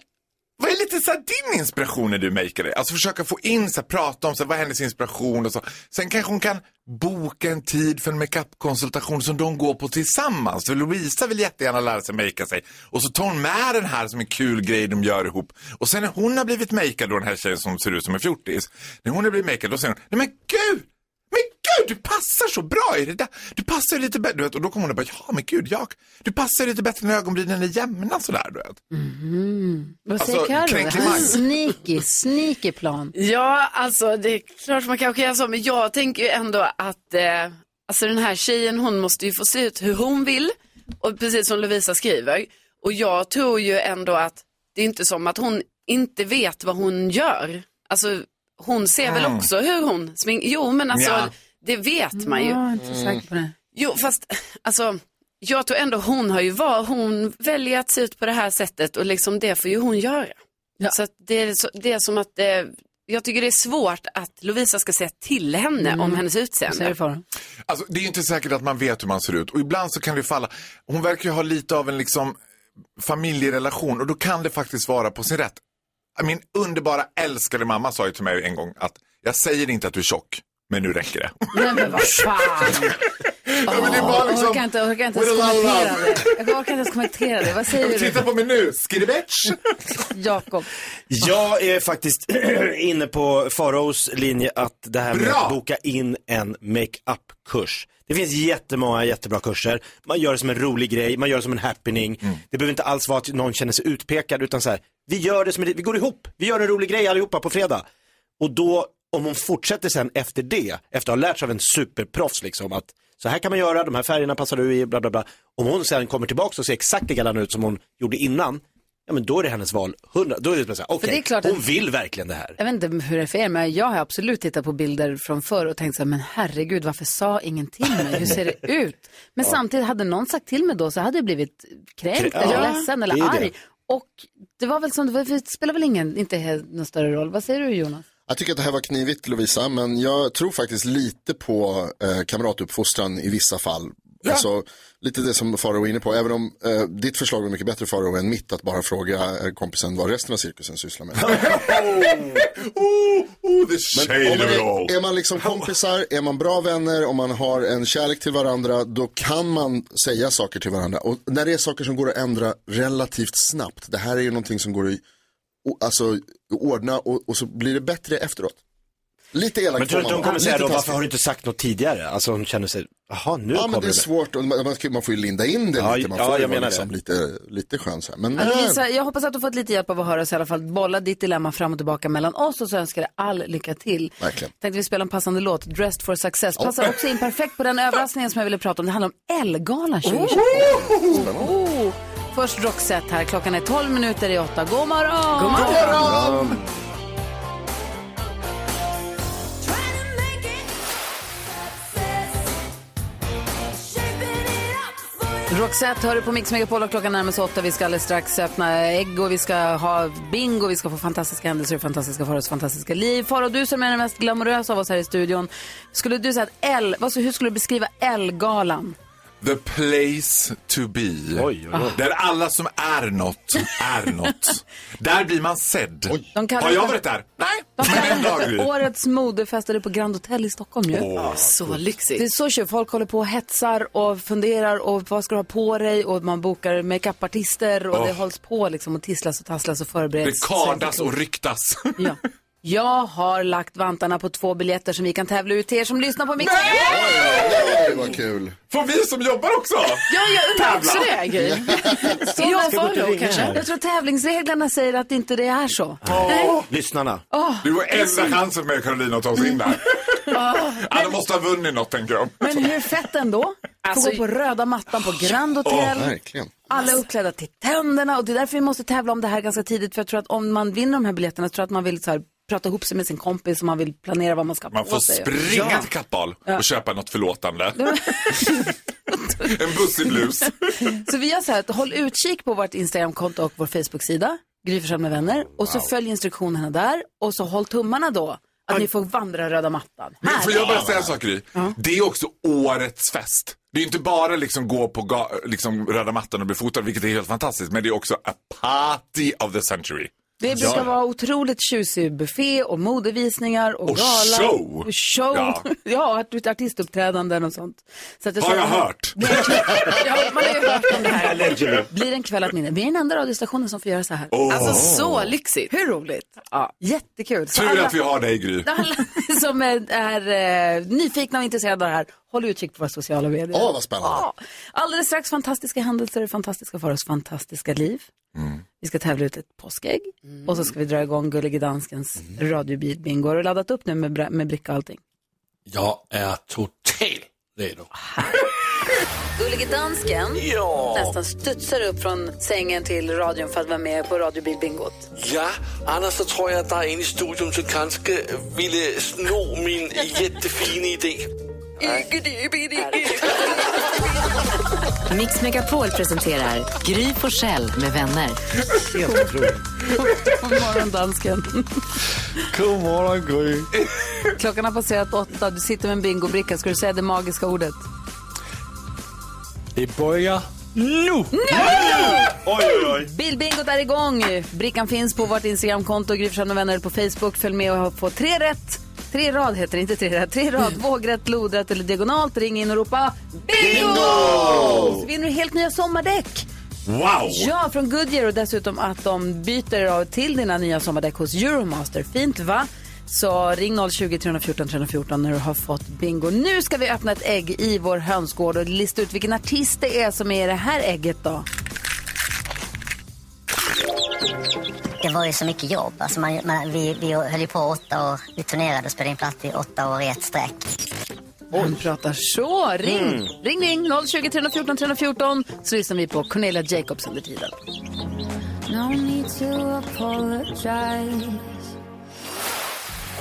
[SPEAKER 14] vad är lite så här din inspiration när du makear dig? Alltså försöka få in, så här, prata om så här, vad är hennes inspiration och så. Sen kanske hon kan boka en tid för en makeupkonsultation som de går på tillsammans. För Louisa vill jättegärna lära sig makea sig. Och så tar hon med den här som en kul grej de gör ihop. Och sen när hon har blivit makead, då den här tjejen som ser ut som en fjortis. När hon har blivit makead, då säger hon, nej men gud! Men gud, du passar så bra i det där. Du passar ju lite bättre, du vet. Och då kommer hon och bara, ja men gud, jag, du passar ju lite bättre när ögonbrynen är jämna sådär, du vet.
[SPEAKER 1] Mhm. Vad säger
[SPEAKER 14] Alltså,
[SPEAKER 1] Carro? Det
[SPEAKER 14] kränklig
[SPEAKER 1] här är en
[SPEAKER 14] makt.
[SPEAKER 1] sneaky, sneaky plan.
[SPEAKER 7] Ja, alltså det är klart man kanske gör så, men jag tänker ju ändå att eh, alltså den här tjejen hon måste ju få se ut hur hon vill, och precis som Lovisa skriver. Och jag tror ju ändå att det är inte som att hon inte vet vad hon gör. Alltså hon ser väl
[SPEAKER 1] Mm.
[SPEAKER 7] också hur hon sminkar, jo men alltså
[SPEAKER 1] Ja.
[SPEAKER 7] det vet man ju.
[SPEAKER 1] Jag är inte så säker på det.
[SPEAKER 7] Jo, fast alltså, jag tror ändå hon har ju var, hon väljer att se ut på det här sättet och liksom det får ju hon göra. Så att det, är så, det är som att, eh, jag tycker det är svårt att Lovisa ska säga till henne
[SPEAKER 1] Mm.
[SPEAKER 7] om hennes utseende.
[SPEAKER 14] Alltså, det är ju inte säkert att man vet hur man ser ut och ibland så kan det ju falla. Hon verkar ju ha lite av en liksom familjerelation och då kan det faktiskt vara på sin rätt. Min underbara älskade mamma sa ju till mig en gång att jag säger inte att du är tjock, men nu räcker det.
[SPEAKER 1] Nej, men vad fan.
[SPEAKER 14] bara liksom-
[SPEAKER 1] jag orkar inte, jag orkar inte ens
[SPEAKER 14] With a lot of
[SPEAKER 1] kommentera
[SPEAKER 14] love.
[SPEAKER 1] det. Jag orkar inte ens kommentera det. Vad säger du?
[SPEAKER 14] Titta på mig nu, skitty bitch!
[SPEAKER 1] Jakob.
[SPEAKER 3] Jag är faktiskt inne på Faraos linje att det här med
[SPEAKER 14] Bra!
[SPEAKER 3] att boka in en make-up-kurs. Det finns jättemånga jättebra kurser. Man gör det som en rolig grej, man gör det som en happening. Det behöver inte alls vara att någon känner sig utpekad utan så här, vi gör det som en, vi går ihop, vi gör en rolig grej allihopa på fredag. Och då, om hon fortsätter sen efter det, efter att ha lärt sig av en superproffs liksom att så här kan man göra, de här färgerna passar du i, bla bla bla. Om hon sen kommer tillbaka och ser exakt likadan ut som hon gjorde innan, ja men då är det hennes val. 100, då är det bara så här, okej,
[SPEAKER 1] det är klart
[SPEAKER 3] hon
[SPEAKER 1] att-
[SPEAKER 3] vill verkligen det här.
[SPEAKER 1] Jag vet inte hur det är för er, men jag har absolut tittat på bilder från förr och tänkt så här, men herregud, varför sa ingen till mig? Hur ser det ut? Men
[SPEAKER 8] Ja.
[SPEAKER 1] samtidigt, hade någon sagt till mig då så hade jag blivit kränkt
[SPEAKER 8] Krä-
[SPEAKER 1] eller
[SPEAKER 8] Ja,
[SPEAKER 1] ledsen
[SPEAKER 8] det är
[SPEAKER 1] eller
[SPEAKER 8] det.
[SPEAKER 1] arg. Och det var väl som, det, var, för det spelar väl ingen, inte he- någon större roll. Vad säger du Jonas?
[SPEAKER 6] Jag tycker att det här var knivigt Lovisa, men jag tror faktiskt lite på eh, kamratuppfostran i vissa fall. Alltså, lite det som Faro var inne på, även om eh, ditt förslag var mycket bättre Faro än mitt att bara fråga eh, kompisen vad resten av cirkusen sysslar med.
[SPEAKER 14] Oh, the
[SPEAKER 6] Men
[SPEAKER 14] shade
[SPEAKER 6] om man
[SPEAKER 14] of it all.
[SPEAKER 6] är, är man liksom kompisar, är man bra vänner, om man har en kärlek till varandra, då kan man säga saker till varandra. Och när det är saker som går att ändra relativt snabbt, det här är ju någonting som går att o- alltså, ordna och, och så blir det bättre efteråt. Lite elakt
[SPEAKER 3] Men tror du
[SPEAKER 6] får man
[SPEAKER 3] inte hon
[SPEAKER 6] vara.
[SPEAKER 3] kommer säga
[SPEAKER 6] Lite
[SPEAKER 3] då, varför
[SPEAKER 6] taskigt.
[SPEAKER 3] har du inte sagt något tidigare? Alltså hon känner sig, jaha nu
[SPEAKER 6] Ja
[SPEAKER 3] kommer
[SPEAKER 6] men det är svårt, och man, man- man får ju linda in det
[SPEAKER 3] Ja,
[SPEAKER 6] lite, man
[SPEAKER 3] ja,
[SPEAKER 6] får ju
[SPEAKER 3] jag
[SPEAKER 6] vara
[SPEAKER 3] menar
[SPEAKER 6] liksom
[SPEAKER 3] det.
[SPEAKER 6] lite, lite skön så här. Men,
[SPEAKER 1] Alltså, Lisa, jag hoppas att du fått lite hjälp av att höra oss i alla fall bolla ditt dilemma fram och tillbaka mellan oss och så önskar jag all lycka till.
[SPEAKER 6] verkligen.
[SPEAKER 1] Tänkte vi spela en passande låt, Dressed for Success. Passar också in perfekt på den överraskningen som jag ville prata om. Det handlar om Ellegalan 2020. Oh. Först Roxette här, klockan är 12 minuter i 8. God morgon!
[SPEAKER 5] God morgon! God morgon!
[SPEAKER 1] Roxette hör du på Mix Megapol och klockan närmar sig åtta. Vi ska alldeles strax öppna ägg och vi ska ha bingo. Vi ska få fantastiska händelser och fantastiska Faros fantastiska liv. Faro, du som är den mest glamorösa av oss här i studion. Skulle du säga att L, vad, så- hur skulle du beskriva L-galan?
[SPEAKER 14] The place to be.
[SPEAKER 1] oj, oj.
[SPEAKER 14] Där alla som är något är något. där blir man sedd.
[SPEAKER 1] De kallar
[SPEAKER 14] Har jag
[SPEAKER 1] det-
[SPEAKER 14] varit där? Nej,
[SPEAKER 1] De
[SPEAKER 14] men en dag. Gry.
[SPEAKER 1] Årets modefest är det på Grand Hotel i Stockholm ju.
[SPEAKER 14] Åh, så
[SPEAKER 1] lyxigt. Det är så tjuv. Folk håller på och hetsar och funderar och vad ska du ha på dig och man bokar makeupartister och
[SPEAKER 14] Åh.
[SPEAKER 1] det hålls på liksom och tisslas och tasslas och förbereds.
[SPEAKER 14] Det kardas och ryktas.
[SPEAKER 1] Jag har lagt vantarna på två biljetter som vi kan tävla ut till er som lyssnar på Mix
[SPEAKER 6] Oj, vad kul.
[SPEAKER 14] Får vi som jobbar också?
[SPEAKER 1] Ja, jag undrar också
[SPEAKER 14] Tävla.
[SPEAKER 1] det, Gry.
[SPEAKER 14] Ska
[SPEAKER 1] jag,
[SPEAKER 14] gå ut och ringa här?
[SPEAKER 1] jag tror tävlingsreglerna säger att inte det är så.
[SPEAKER 14] Åh,
[SPEAKER 3] Lyssnarna.
[SPEAKER 14] Det var enda chansen med Karolina att ta sig in där.
[SPEAKER 1] Ah.
[SPEAKER 14] Alla måste ha vunnit något tänker de.
[SPEAKER 1] Men hur fett ändå? Få
[SPEAKER 14] Alltså-
[SPEAKER 1] gå på röda mattan på Grand Hotel. Alla är uppklädda till tänderna och det är därför vi måste tävla om det här ganska tidigt. För jag tror att om man vinner de här biljetterna så tror jag att man vill så här, prata ihop sig med sin kompis och man vill planera vad man ska ha
[SPEAKER 14] Man
[SPEAKER 1] på
[SPEAKER 14] får
[SPEAKER 1] sig.
[SPEAKER 14] springa till Kappahl
[SPEAKER 1] Ja.
[SPEAKER 14] och köpa något förlåtande. en bussig blus.
[SPEAKER 1] Så vi gör så här, att håll utkik på vårt Instagramkonto och vår Facebook-sida, Gry Forssell med vänner. Och så
[SPEAKER 14] Wow.
[SPEAKER 1] följ instruktionerna där och så håll tummarna då. Att ni får vandra röda mattan.
[SPEAKER 14] Men får jag bara säga en sak Gry? Det är också årets fest. Det är ju inte bara liksom gå på ga- liksom röda mattan och bli fotad, vilket är helt fantastiskt, men det är också a party of the century.
[SPEAKER 1] Det brukar vara otroligt tjusig buffé och modevisningar och,
[SPEAKER 14] Och
[SPEAKER 1] gala.
[SPEAKER 14] show.
[SPEAKER 1] Och show. Ja,
[SPEAKER 14] Ja.
[SPEAKER 1] ja art- artistuppträdanden och sånt. Så att
[SPEAKER 14] Har
[SPEAKER 1] tror
[SPEAKER 14] jag
[SPEAKER 1] att man-
[SPEAKER 14] hört?
[SPEAKER 1] Ja, man har ju hört om det här.
[SPEAKER 14] Allegedly.
[SPEAKER 1] Blir en kväll att minne. Vi är den enda radiostationen som får göra så här.
[SPEAKER 14] Oh. Alltså, så
[SPEAKER 1] lyxigt. Hur roligt? Ja. Jättekul. Så
[SPEAKER 14] Tur
[SPEAKER 1] alla-
[SPEAKER 14] att vi har dig Gry.
[SPEAKER 1] Alla som är, är eh, nyfikna och intresserade av det här, håll utkik på våra sociala medier.
[SPEAKER 6] Åh, vad spännande.
[SPEAKER 1] Ja. Alldeles strax fantastiska händelser, fantastiska för oss, fantastiska liv.
[SPEAKER 6] Mm.
[SPEAKER 1] Vi ska tävla ut ett påskägg och så ska vi dra igång Gullige Danskens mm. radiobil-bingo. Har du laddat upp nu med, bra- med bricka och allting?
[SPEAKER 9] Jag är totalt redo.
[SPEAKER 1] Gullige Dansken ja. nästan studsar upp från sängen till radion för att vara med på radiobil-bingot.
[SPEAKER 9] Ja, annars så tror jag att der er en i studion, som kanske ville sno min jättefina idé.
[SPEAKER 2] Mix Megapol presenterar Gry Forssell med vänner.
[SPEAKER 1] God morgon, dansken.
[SPEAKER 9] God morgon, Gry.
[SPEAKER 1] Klockan har passerat åtta, du sitter med en bingobricka. Ska du säga det magiska ordet?
[SPEAKER 9] Det börjar nu!
[SPEAKER 3] Oj, oj, oj.
[SPEAKER 1] Bilbingot är igång. Brickan finns på vårt Instagramkonto, Gry Forssell med vänner på Facebook. Följ med och få tre rätt. Tre rad heter det, inte tre rätt. Tre rad, vågrätt, lodrätt eller diagonalt. Ring in och ropa bingo!
[SPEAKER 5] Bingo!
[SPEAKER 1] Så vinner du helt nya sommardäck.
[SPEAKER 5] Wow!
[SPEAKER 1] Ja, från Goodyear och dessutom att de byter av till dina nya sommardäck hos Euromaster. Fint va? Så ring 020 314 314 när du har fått bingo. Nu ska vi öppna ett ägg i vår hönsgård och lista ut vilken artist det är som är i det här ägget då.
[SPEAKER 12] Det var ju så mycket jobb. Alltså man, man, vi, vi höll ju på åtta år. Vi turnerade och spelade in platt i åtta år i ett streck.
[SPEAKER 1] Han pratar så. Ring, ring, ring 020 314 314 så lyssnar vi på Cornelia Jacobs under tiden.
[SPEAKER 12] Nu
[SPEAKER 5] No need to apologize. It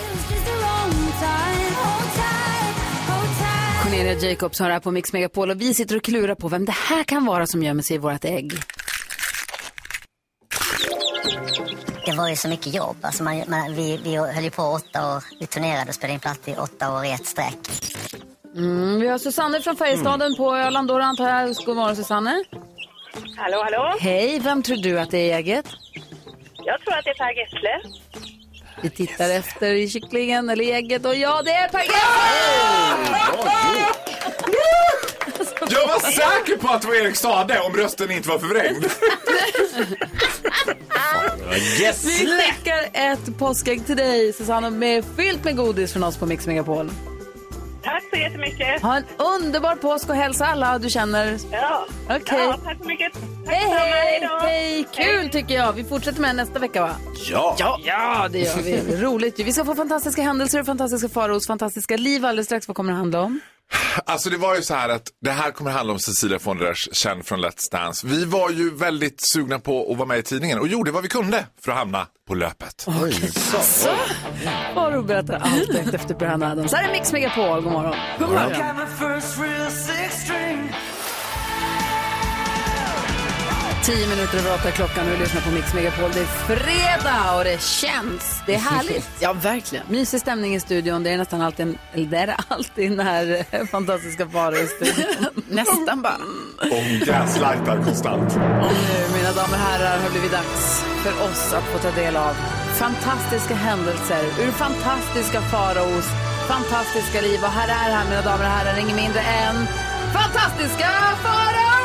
[SPEAKER 5] was just the wrong time. Hold tight, hold tight.
[SPEAKER 1] Cornelia Jacobs har här på Mix Megapol och vi sitter och klurar på vem det här kan vara som gömmer sig i vårt ägg.
[SPEAKER 12] Det var ju så mycket jobb. Alltså man, man, vi, vi höll ju på åtta år. Vi turnerade och spelade in platt i åtta år i ett streck.
[SPEAKER 1] Mm, vi har Susanne från Färjestaden på Öland, då antar jag. God morgon Susanne.
[SPEAKER 15] Hallå, hallå.
[SPEAKER 1] Hej, vem tror du att det är i ägget?
[SPEAKER 15] Jag tror att det är Per Gessle.
[SPEAKER 1] Vi tittar efter i kycklingen eller i ägget och ja, det är Per Gessle!
[SPEAKER 14] Jag var säker på att det var Erik Sade om rösten inte var förvrängd.
[SPEAKER 1] Vi skickar ett påskägg till dig, Susanne, med fyllt med godis från oss på Mix Megapol.
[SPEAKER 15] Tack så jättemycket.
[SPEAKER 1] Ha en underbar påsk och hälsa alla du känner.
[SPEAKER 15] Ja.
[SPEAKER 1] Okej.
[SPEAKER 15] Ja, tack så mycket. Tack
[SPEAKER 1] Hej,
[SPEAKER 15] detsamma.
[SPEAKER 1] hej,
[SPEAKER 15] då.
[SPEAKER 1] hej! Kul tycker jag. Vi fortsätter med nästa vecka, va?
[SPEAKER 3] Ja.
[SPEAKER 1] Ja, ja det gör vi. Roligt ju. Vi ska få fantastiska händelser, och fantastiska faros, fantastiska liv alldeles strax. Vad kommer det handla om?
[SPEAKER 14] Alltså det var ju så här att det här kommer handla om Cecilia von Resch, känd från Let's Dance. Vi var ju väldigt sugna på att vara med i tidningen och gjorde vad vi kunde för att hamna på löpet. Oj.
[SPEAKER 1] Så. Faro berättar allt direkt efter Brian Adams. Här är Mix Megapol. God morgon.
[SPEAKER 5] God
[SPEAKER 14] morgon.
[SPEAKER 5] Got my first real six string.
[SPEAKER 1] Tio minuter över åtta är klockan och du lyssnar på Mix Megapol. Det är fredag och det känns. Det är härligt.
[SPEAKER 7] Ja, verkligen.
[SPEAKER 1] Mysig stämning i studion. Det är nästan alltid, en, eller det är det alltid den här eh, fantastiska Faro i studion.
[SPEAKER 7] Nästan bara.
[SPEAKER 14] Och gaslightar konstant.
[SPEAKER 1] Och nu, mina damer och herrar, har blivit dags för oss att få ta del av fantastiska händelser ur fantastiska faraos fantastiska liv. Och här är han, mina damer och herrar, inget mindre än fantastiska farao!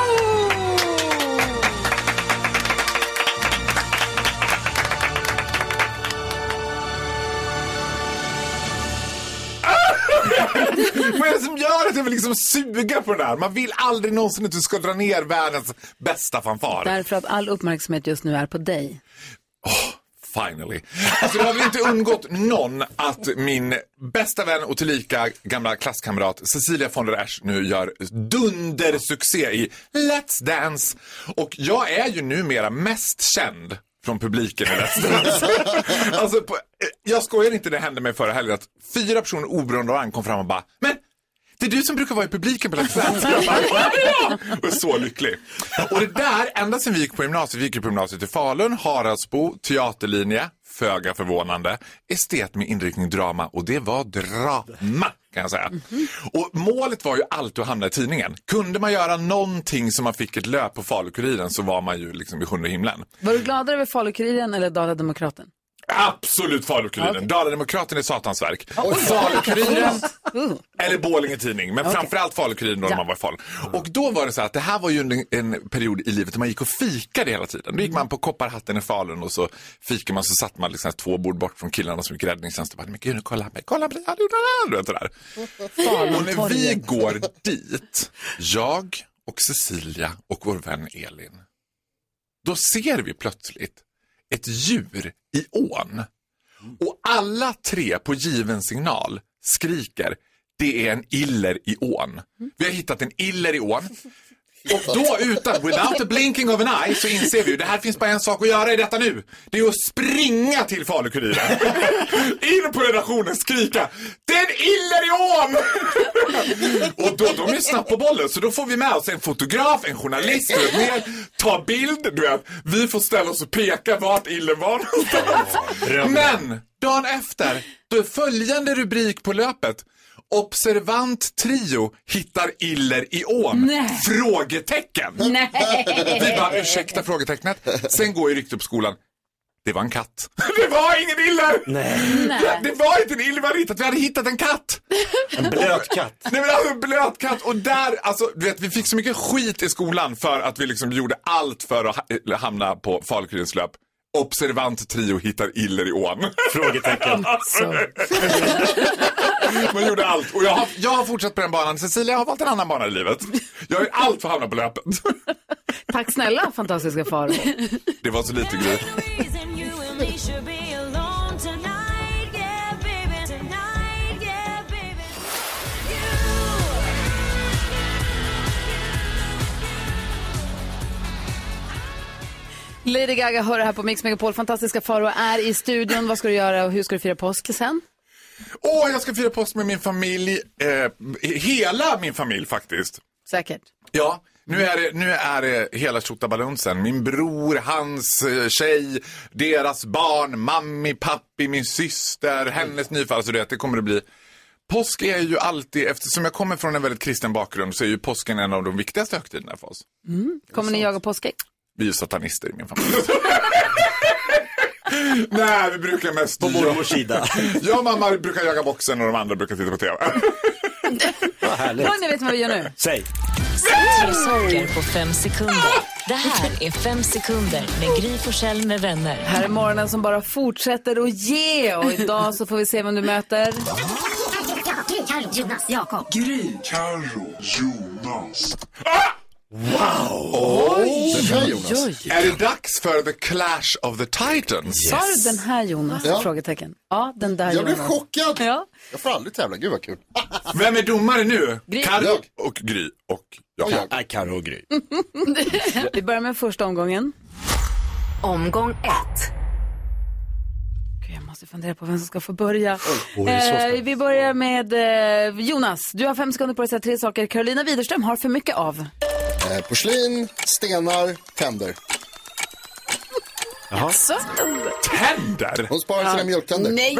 [SPEAKER 14] Vad är det som gör att jag vill liksom suga på den här? Man vill aldrig någonsin att du ska dra ner världens bästa fanfar.
[SPEAKER 1] Därför att all uppmärksamhet just nu är på dig.
[SPEAKER 14] Finally. Alltså det har väl inte undgått någon att min bästa vän och tillika gamla klasskamrat Cecilia von der Esch nu gör dundersuccé i Let's Dance. Och jag är ju numera mest känd från publiken i Let's Dance. alltså på, jag skojar inte, det hände mig förra helgen att fyra personer oberoende av varandra kom fram och bara Men det är du som brukar vara i publiken på Let's Dance. Jag bara, "Ja, det är jag." och är så lycklig. Och det där, ända sedan vi gick på gymnasiet, vi gick ju på gymnasiet i Falun, Haraldsbo, teaterlinje, föga förvånande, estet med inriktning drama och det var drama kan jag säga. Och målet var ju alltid att hamna i tidningen. Kunde man göra någonting som man fick ett löp på Falukuriren så var man ju liksom i sjunde himlen.
[SPEAKER 1] Var du gladare över Falukuriren eller Dala-Demokraten?
[SPEAKER 14] Absolut Falukuriren. Dalademokraten är satans verk. Falukuriren
[SPEAKER 7] Uh.
[SPEAKER 14] eller Borlänge Tidning, men framförallt Falukuriren då när
[SPEAKER 5] Ja.
[SPEAKER 14] man var i Falun. Och då var det så här att det här var ju en, en period i livet där man gick och fikade hela tiden. Då gick man på Kopparhatten i Falun och så fikade man så satt man liksom två bord bort från killarna som gick räddningstjänst och bara, men gud nu kolla mig, kolla mig, ja, du, du, du, du vet det där. Och när vi går dit, jag och Cecilia och vår vän Elin, då ser vi plötsligt ett djur i ån. Och alla tre på given signal skriker det är en iller i ån. Vi har hittat en iller i ån. Och då utan, without a blinking of an eye, så inser vi ju det här finns bara en sak att göra i detta nu. Det är att springa till Falukuriren. In på redaktionen, skrika det är en iller i ån! Och då, de är snabbt på bollen så då får vi med oss en fotograf, en journalist, du vet, ner, ta bild, du vet. Vi får ställa oss och peka vart illen var någonstans. Men dagen efter, då är följande rubrik på löpet. Observant trio hittar iller i ån?
[SPEAKER 5] Nej.
[SPEAKER 14] Frågetecken!
[SPEAKER 5] Nej.
[SPEAKER 14] Vi bara, ursäkta frågetecknet. Sen går ju ryktet på skolan. Det var en katt. Det var ingen iller! Det, det var inte en iller vi hade hittat, vi hade hittat en katt. En blöt katt. Nej men alltså en blöt katt. Och där, alltså du vet vi fick så mycket skit i skolan för att vi liksom gjorde allt för att ha- eh, hamna på Falukurins löp. Observant trio hittar iller i ån. Frågetecken. Man gjorde allt. Och jag har, jag har fortsatt på den banan. Cecilia har valt en annan bana i livet. Jag har ju allt för att hamna på löpet.
[SPEAKER 1] Tack snälla, fantastiska Faro.
[SPEAKER 14] Det var så lite grej.
[SPEAKER 5] Reason you and me should be alone tonight, yeah, baby. Tonight, yeah, baby.
[SPEAKER 1] Lady Gaga hör det här på Mix Megapol. Fantastiska Faro är i studion. Vad ska du göra och hur ska du fira påsk sen?
[SPEAKER 14] Åh, jag ska fira påsk med min familj. Eh, hela min familj faktiskt.
[SPEAKER 1] Säkert.
[SPEAKER 14] Ja, nu är det, nu är det hela tjottabalunsen. Min bror, hans eh, tjej, deras barn, mammi, pappi, min syster, hennes nyfall. Alltså du vet, det kommer det bli. Påsk är ju alltid, eftersom jag kommer från en väldigt kristen bakgrund, så är ju påsken en av de viktigaste högtiderna för oss.
[SPEAKER 1] Mm. Kommer ni jaga påskägg?
[SPEAKER 14] Vi är ju satanister i min familj. Nej, vi brukar mest... På mormors sida. Jag och mamma brukar jaga boxen och de andra brukar titta på TV. Vad härligt.
[SPEAKER 1] Hörni, vet ni vad vi gör nu?
[SPEAKER 14] Säg.
[SPEAKER 2] Säg tre saker på fem sekunder. Det här är fem sekunder med Gry Forssell med vänner.
[SPEAKER 1] Här är morgonen som bara fortsätter att ge och idag så får vi se vem du möter.
[SPEAKER 5] Jonas, Jakob.
[SPEAKER 14] Gry, Carro, Jonas. Wow! Oj,
[SPEAKER 5] Den här Jonas. oj, oj.
[SPEAKER 14] Är det dags för The Clash of the Titans?
[SPEAKER 1] Sa du den här Jonas?
[SPEAKER 14] Ja.
[SPEAKER 1] Frågetecken. Ja, den där
[SPEAKER 14] Jag blev
[SPEAKER 1] Jonas.
[SPEAKER 14] chockad.
[SPEAKER 1] Ja.
[SPEAKER 14] Jag får aldrig tävla, gud vad kul. Vem är domare nu?
[SPEAKER 1] Gry.
[SPEAKER 14] Carro
[SPEAKER 1] Jag.
[SPEAKER 14] och Gry och jag. Nej, Carro och Gry.
[SPEAKER 1] vi börjar med första omgången.
[SPEAKER 2] Omgång ett.
[SPEAKER 1] Gud, jag måste fundera på vem som ska få börja.
[SPEAKER 2] oj, det är så spännande.
[SPEAKER 1] eh, vi börjar med eh, Jonas. Du har fem sekunder på dig att säga tre saker Carolina Widerström har för mycket av.
[SPEAKER 6] Eh, porslin, stenar, tänder.
[SPEAKER 14] Jaha.
[SPEAKER 1] Så.
[SPEAKER 14] Tänder?
[SPEAKER 6] Hon sparar sina mjölktänder.
[SPEAKER 1] Nej.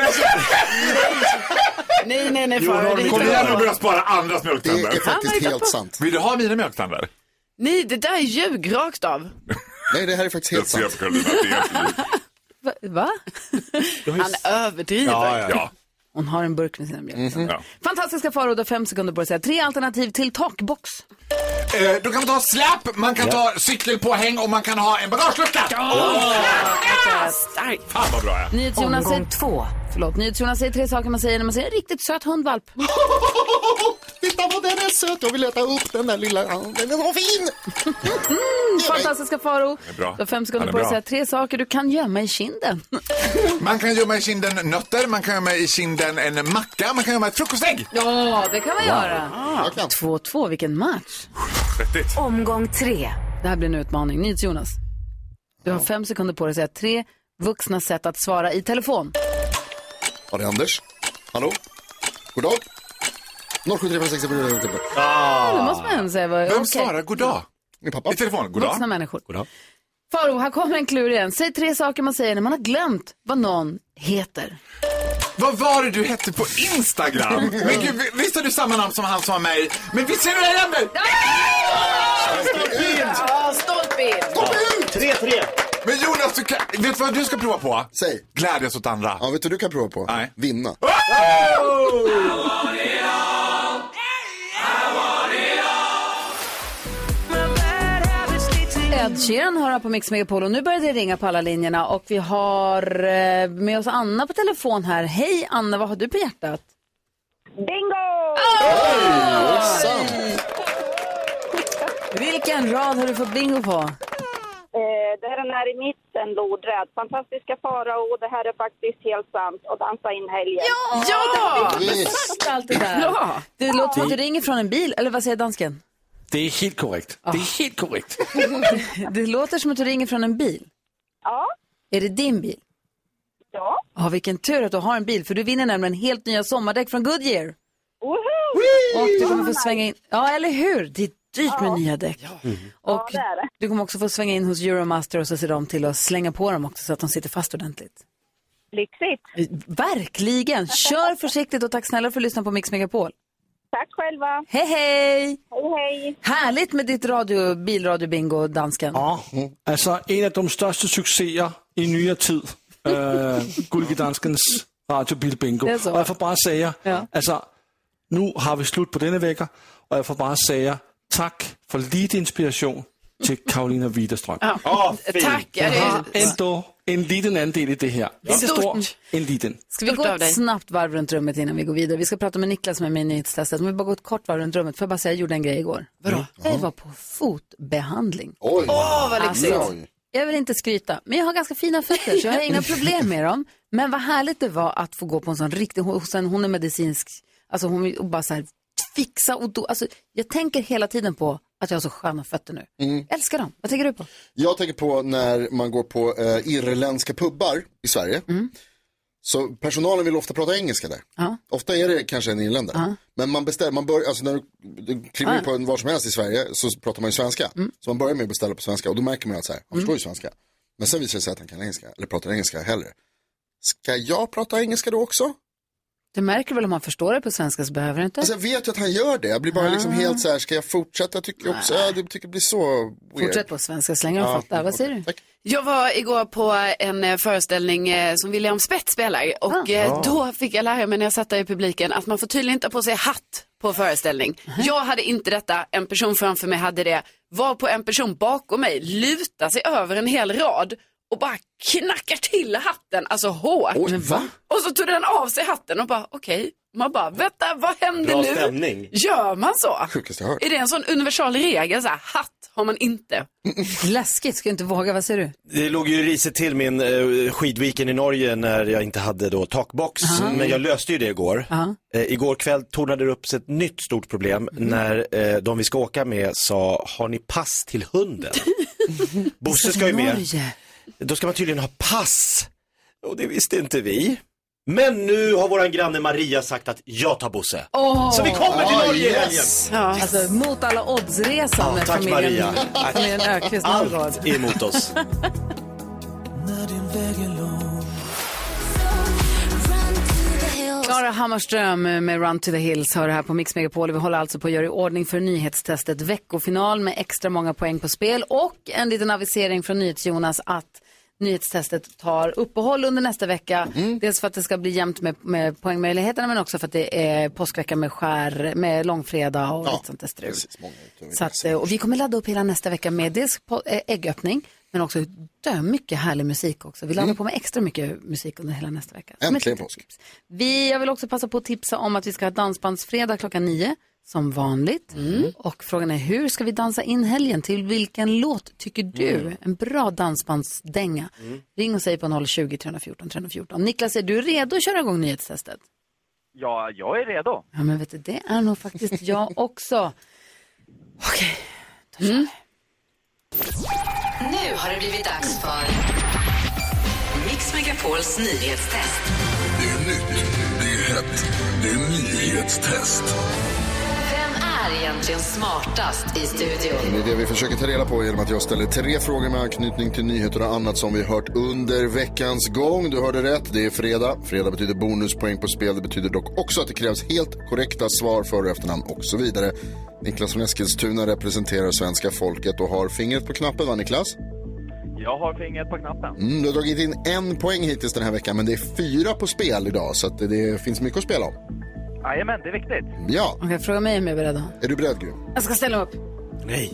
[SPEAKER 1] Nej, nej, nej, Farao. det
[SPEAKER 14] Kom
[SPEAKER 1] hittar
[SPEAKER 14] igen
[SPEAKER 1] jag
[SPEAKER 14] och
[SPEAKER 1] på.
[SPEAKER 14] börja spara andras mjölktänder.
[SPEAKER 1] Det är faktiskt Han har helt på. sant.
[SPEAKER 14] Vill du ha mina mjölktänder?
[SPEAKER 7] Nej, det där är ljug rakt av.
[SPEAKER 6] Nej, det här är faktiskt helt sant.
[SPEAKER 14] Jag ser på Carolina att det är helt likt.
[SPEAKER 1] Va? Va? Han överdriver. Hon har en burk med sina mjölktänder.
[SPEAKER 14] Ja.
[SPEAKER 1] Fantastiska Farao, du har fem sekunder på dig att säga tre alternativ till takbox.
[SPEAKER 14] Eh, Då kan man ta släp, man kan
[SPEAKER 1] Ja.
[SPEAKER 14] ta cykelpåhäng och man kan ha en bagagelucka. Starkt! Fan vad bra jag är.
[SPEAKER 1] NyhetsJonas säger... två. Förlåt, NyhetsJonas säger tre saker man säger när man ser en riktigt söt hundvalp.
[SPEAKER 6] Titta vad den är söt, jag vill äta upp den där lilla. Ja, Den är så fin!
[SPEAKER 1] Fantastiska Faro.
[SPEAKER 14] Det är
[SPEAKER 1] Du
[SPEAKER 14] bra.
[SPEAKER 1] har fem
[SPEAKER 14] Ja, det
[SPEAKER 1] sekunder
[SPEAKER 14] är
[SPEAKER 1] på
[SPEAKER 14] bra.
[SPEAKER 1] dig att säga tre saker du kan gömma i kinden.
[SPEAKER 14] Man kan gömma i kinden nötter, man kan gömma i kinden en macka, man kan gömma ett frukostägg.
[SPEAKER 1] Ja, det kan man
[SPEAKER 14] Wow.
[SPEAKER 1] göra. 2-2, vilken match.
[SPEAKER 14] Vettigt.
[SPEAKER 1] Omgång tre. Det här blir en utmaning. NyhetsJonas, du har fem sekunder på dig att säga tre vuxna sätt att svara i telefon.
[SPEAKER 6] Ja, det är Anders. Hallå? God dag? 073567
[SPEAKER 1] Ja, nu måste man ändå säga vad... okej.
[SPEAKER 14] dag?
[SPEAKER 6] Min pappa. I
[SPEAKER 14] telefon,
[SPEAKER 1] god dag. Vuxna människor. Faro, här kommer en klur igen. Säg tre saker man säger när man har glömt vad någon heter.
[SPEAKER 14] Vad var det du hette på Instagram? Men gud, vi- visst har du samma namn som han som har mig? Men visst ser du det händer?
[SPEAKER 1] Ja, stolpe
[SPEAKER 14] Tre, tre. Men Jonas, du kan, vet du vad du ska prova på? Säg. Glädjas åt andra.
[SPEAKER 6] Ja, vet du vad du kan prova på? Nej. Vinna.
[SPEAKER 1] Ed Sheeran hör här på Mix Megapol och nu börjar det ringa på alla linjerna och vi har eh, med oss Anna på telefon här. Hej Anna, vad har du på hjärtat?
[SPEAKER 15] Bingo!
[SPEAKER 1] Vilken rad har du fått bingo på?
[SPEAKER 15] Eh, det här är när i mitten, lodrädd. Fantastiska farao, det här är faktiskt helt sant. Och dansa in helgen. Ja!
[SPEAKER 1] Visst, Allt det där.
[SPEAKER 15] Ja.
[SPEAKER 1] Det låter som att du ringer från en bil, eller vad säger dansken?
[SPEAKER 9] Det är helt korrekt. Det är helt korrekt.
[SPEAKER 1] Det låter som att du ringer från en bil.
[SPEAKER 15] Ja.
[SPEAKER 1] Är det din bil?
[SPEAKER 15] Ja.
[SPEAKER 1] Ja, vilken tur att du har en bil, för du vinner nämligen helt nya sommardäck från Goodyear.
[SPEAKER 15] Woho!
[SPEAKER 1] Och du kommer få svänga in, ja eller hur? Det är dyrt med nya däck. Mm. Och
[SPEAKER 15] det är det.
[SPEAKER 1] du kommer också få svänga in hos Euromaster och så ser de till att slänga på dem också så att de sitter fast ordentligt. Eh,
[SPEAKER 15] Lyxigt.
[SPEAKER 1] Verkligen! Kör försiktigt och tack snälla för att du lyssnade på Mix Megapol.
[SPEAKER 15] Tack själva.
[SPEAKER 1] Hej, hej!
[SPEAKER 15] Hej, hej.
[SPEAKER 1] Härligt med ditt radio, bilradiobingo, dansken.
[SPEAKER 9] Ja, alltså en av de största succeser i nyere tid. Uh, Gullige Danskens radiobilbingo.
[SPEAKER 1] Det er så.
[SPEAKER 9] Og jeg får bare säga, altså, nu har vi slut på denne vækker, og jeg får bare säga tak for lidt inspiration til Karolina Widerstrøm.
[SPEAKER 7] Ja. Åh, fint. Tak, ja, det
[SPEAKER 9] Hun
[SPEAKER 7] er-
[SPEAKER 9] har endda en liten andel i det her.
[SPEAKER 1] Ja.
[SPEAKER 9] Ikke stort, en liten.
[SPEAKER 1] Ska vi gå ett snabbt varv runt rummet innan vi går vidare? Vi ska prata med Niklas som är med i nyhetstestet. Men vi bara gå ett kort varv runt rummet. Får jag bara säga, jag gjorde en grej igår. Vadå? Jag var på fotbehandling.
[SPEAKER 6] Oj.
[SPEAKER 5] Åh,
[SPEAKER 1] vad lyxigt. Jag vill inte skryta, men jag har ganska fina fötter så jag har inga problem med dem. Men vad härligt det var att få gå på en sån riktig, hos en, hon är medicinsk, alltså hon vill och bara så här fixa och do, alltså jag tänker hela tiden på att jag har så sköna fötter nu.
[SPEAKER 6] Mm.
[SPEAKER 1] Älskar dem. Vad tänker du på?
[SPEAKER 6] Jag tänker på när man går på eh, irländska pubbar i Sverige. Så personalen vill ofta prata engelska där.
[SPEAKER 1] Mm. Ja.
[SPEAKER 6] Ofta är det kanske en irländare. Men man beställer, man börjar, alltså när du, du kliver
[SPEAKER 1] Ja. Mm.
[SPEAKER 6] in på en var som helst i Sverige så pratar man ju svenska. Så man börjar med att beställa på svenska och då märker man att så här, han förstår ju svenska. Men sen visar det sig att han kan engelska, eller pratar engelska hellre. Ska jag prata engelska då också?
[SPEAKER 1] Du märker väl om man förstår det på svenska så behöver du inte.
[SPEAKER 6] Alltså jag vet ju att han gör det, jag blir bara
[SPEAKER 1] Ah.
[SPEAKER 6] liksom helt så här, ska jag fortsätta? Jag tycker också, ja, det tycker det blir så weird.
[SPEAKER 1] Fortsätt på svenska så länge de
[SPEAKER 6] Ja,
[SPEAKER 1] fattar. Vad säger du?
[SPEAKER 7] Jag var igår på en eh, föreställning eh, som William Spett spelar och eh,
[SPEAKER 1] Ah.
[SPEAKER 7] då fick jag lära mig när jag satt där i publiken att man får tydligen inte ha på sig hatt på föreställning. Jag hade inte detta, en person framför mig hade det, var på en person bakom mig, luta sig över en hel rad och bara knackar till hatten, alltså hårt.
[SPEAKER 5] Oj, Men va?
[SPEAKER 7] Och så tog den av sig hatten och bara okej. Man bara, vänta, vad händer
[SPEAKER 5] Bra
[SPEAKER 7] nu?
[SPEAKER 5] stämning.
[SPEAKER 7] Gör man så?
[SPEAKER 6] Sjukaste jag hört.
[SPEAKER 7] Är det en sån universal regel, så här, hatt har man inte?
[SPEAKER 1] Läskigt, ska jag inte våga. Vad säger du?
[SPEAKER 3] Det låg ju risigt till min eh, skidviken i Norge när jag inte hade då takbox. Men jag löste ju det igår.
[SPEAKER 1] Ja.
[SPEAKER 3] Eh, igår kväll tornade det upp sig ett nytt stort problem när eh, de vi ska åka med sa, har ni pass till hunden? Bosse ska ju med.
[SPEAKER 1] Alltså, Norge.
[SPEAKER 3] Då ska man tydligen ha pass. Och det visste inte vi. Men nu har våran granne Maria sagt att jag tar Bosse. Så vi kommer till Norge i helgen.
[SPEAKER 1] Alltså, mot alla odds-resan med
[SPEAKER 3] Tack
[SPEAKER 1] familjen,
[SPEAKER 3] Maria.
[SPEAKER 1] familjen Öqvist.
[SPEAKER 3] Allt är emot oss.
[SPEAKER 1] Klara Hammarström med Run to the Hills har det här på Mix Megapol. Vi håller alltså på att göra i ordning för nyhetstestet veckofinal med extra många poäng på spel och en liten avisering från NyhetsJonas att nyhetstestet tar uppehåll under nästa vecka.
[SPEAKER 3] Mm.
[SPEAKER 1] Dels för att det ska bli jämnt med, med poängmöjligheterna men också för att det är påskvecka med skär, med långfredag och lite sånt där strul. Så att, eh, och vi kommer ladda upp hela nästa vecka med dels på- eh, äggöppning men också dö mycket härlig musik också. Vi laddar på med extra mycket musik under hela nästa vecka. Som ett
[SPEAKER 6] Mm. Äntligen
[SPEAKER 1] litet
[SPEAKER 6] påsk.
[SPEAKER 1] tips. Vi, jag vill också passa på att tipsa om att vi ska ha dansbandsfredag klockan nio, som vanligt.
[SPEAKER 6] Mm.
[SPEAKER 1] Och frågan är hur ska vi dansa in helgen? Till vilken låt tycker du?
[SPEAKER 5] Mm.
[SPEAKER 1] En bra dansbandsdänga.
[SPEAKER 6] Mm.
[SPEAKER 1] Ring och säg på 020 314 314. Niklas, är du redo att köra igång nyhetstestet?
[SPEAKER 16] Ja, jag är redo.
[SPEAKER 1] Ja, men vet du, det är nog faktiskt jag också. Okej, då kör vi.
[SPEAKER 5] Nu har det blivit dags för Mix Megapols nyhetstest.
[SPEAKER 17] Det är nytt, det är hett, det är nyhetstest.
[SPEAKER 5] Vem är egentligen smartast i studion?
[SPEAKER 6] Det är det vi försöker ta reda på genom att jag ställer tre frågor med anknytning till nyheter och annat som vi hört under veckans gång. Du hörde rätt, det är fredag. Fredag betyder bonuspoäng på spel. Det betyder dock också att det krävs helt korrekta svar, för och efternamn och så vidare. Niklas från Eskilstuna representerar svenska folket och har fingret på knappen, va Niklas?
[SPEAKER 16] Jag har fingret på knappen.
[SPEAKER 6] Mm, du har dragit in en poäng hittills den här veckan, men det är fyra på spel idag, så att det, det finns mycket att spela om.
[SPEAKER 16] Jajamän, det är viktigt.
[SPEAKER 6] Ja,
[SPEAKER 1] Okej, fråga mig om jag är beredd.
[SPEAKER 6] är du beredd, Gry?
[SPEAKER 1] Jag ska ställa upp.
[SPEAKER 3] Nej.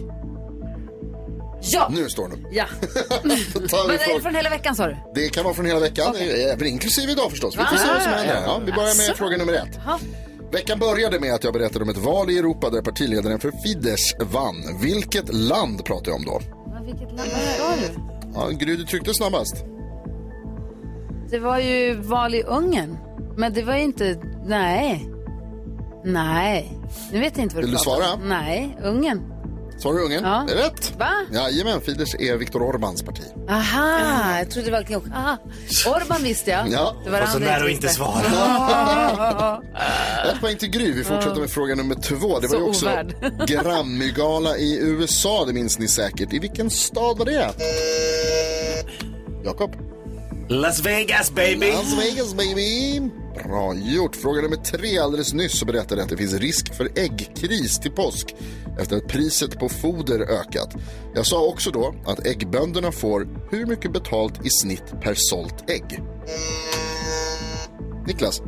[SPEAKER 1] Ja!
[SPEAKER 6] Nu står den upp.
[SPEAKER 1] Ja.
[SPEAKER 6] Då tar
[SPEAKER 1] Men
[SPEAKER 6] vi
[SPEAKER 1] är det
[SPEAKER 6] frågan.
[SPEAKER 1] från hela veckan sa du?
[SPEAKER 6] Det kan vara från hela veckan, eh, även inklusive idag förstås. Vi får se vad som
[SPEAKER 1] Ah.
[SPEAKER 6] händer. Ja, vi börjar med
[SPEAKER 1] Asså.
[SPEAKER 6] fråga nummer ett.
[SPEAKER 1] Ja.
[SPEAKER 6] Veckan började med att jag berättade om ett val i Europa där partiledaren för Fidesz vann. Vilket land pratar jag om då?
[SPEAKER 1] Vilket land var du?
[SPEAKER 6] Ja, Gry, du tryckte snabbast.
[SPEAKER 1] Det var ju val i Ungern. Men det var ju inte... Nej. Nej. Nu vet jag inte vad du
[SPEAKER 6] Vill du
[SPEAKER 1] pratar
[SPEAKER 6] svara?
[SPEAKER 1] om. Nej, Ungern.
[SPEAKER 6] Svarar du Ungern?
[SPEAKER 1] Ja.
[SPEAKER 6] Det är rätt.
[SPEAKER 1] Va?
[SPEAKER 6] Jajamän, Fidesz är Viktor Orbáns parti.
[SPEAKER 1] Aha, jag trodde det var... Aha. Orban visste jag.
[SPEAKER 6] Ja.
[SPEAKER 1] Det var det
[SPEAKER 6] Var så
[SPEAKER 1] andra
[SPEAKER 6] nära
[SPEAKER 1] jag
[SPEAKER 6] att
[SPEAKER 1] inte
[SPEAKER 6] inte
[SPEAKER 1] visste.
[SPEAKER 6] svara.
[SPEAKER 1] Ah.
[SPEAKER 6] Ett poäng till Gry. Vi fortsätter med fråga nummer två. Det var
[SPEAKER 1] Så
[SPEAKER 6] ju också
[SPEAKER 1] ovärd.
[SPEAKER 6] Grammygala i USA, det minns ni säkert. I vilken stad var det? Jakob?
[SPEAKER 3] Las Vegas baby!
[SPEAKER 6] Las Vegas baby! Bra gjort. Fråga nummer tre. Alldeles nyss så berättade jag att det finns risk för äggkris till påsk efter att priset på foder ökat. Jag sa också då att äggbönderna får hur mycket betalt i snitt per sålt ägg? Niklas?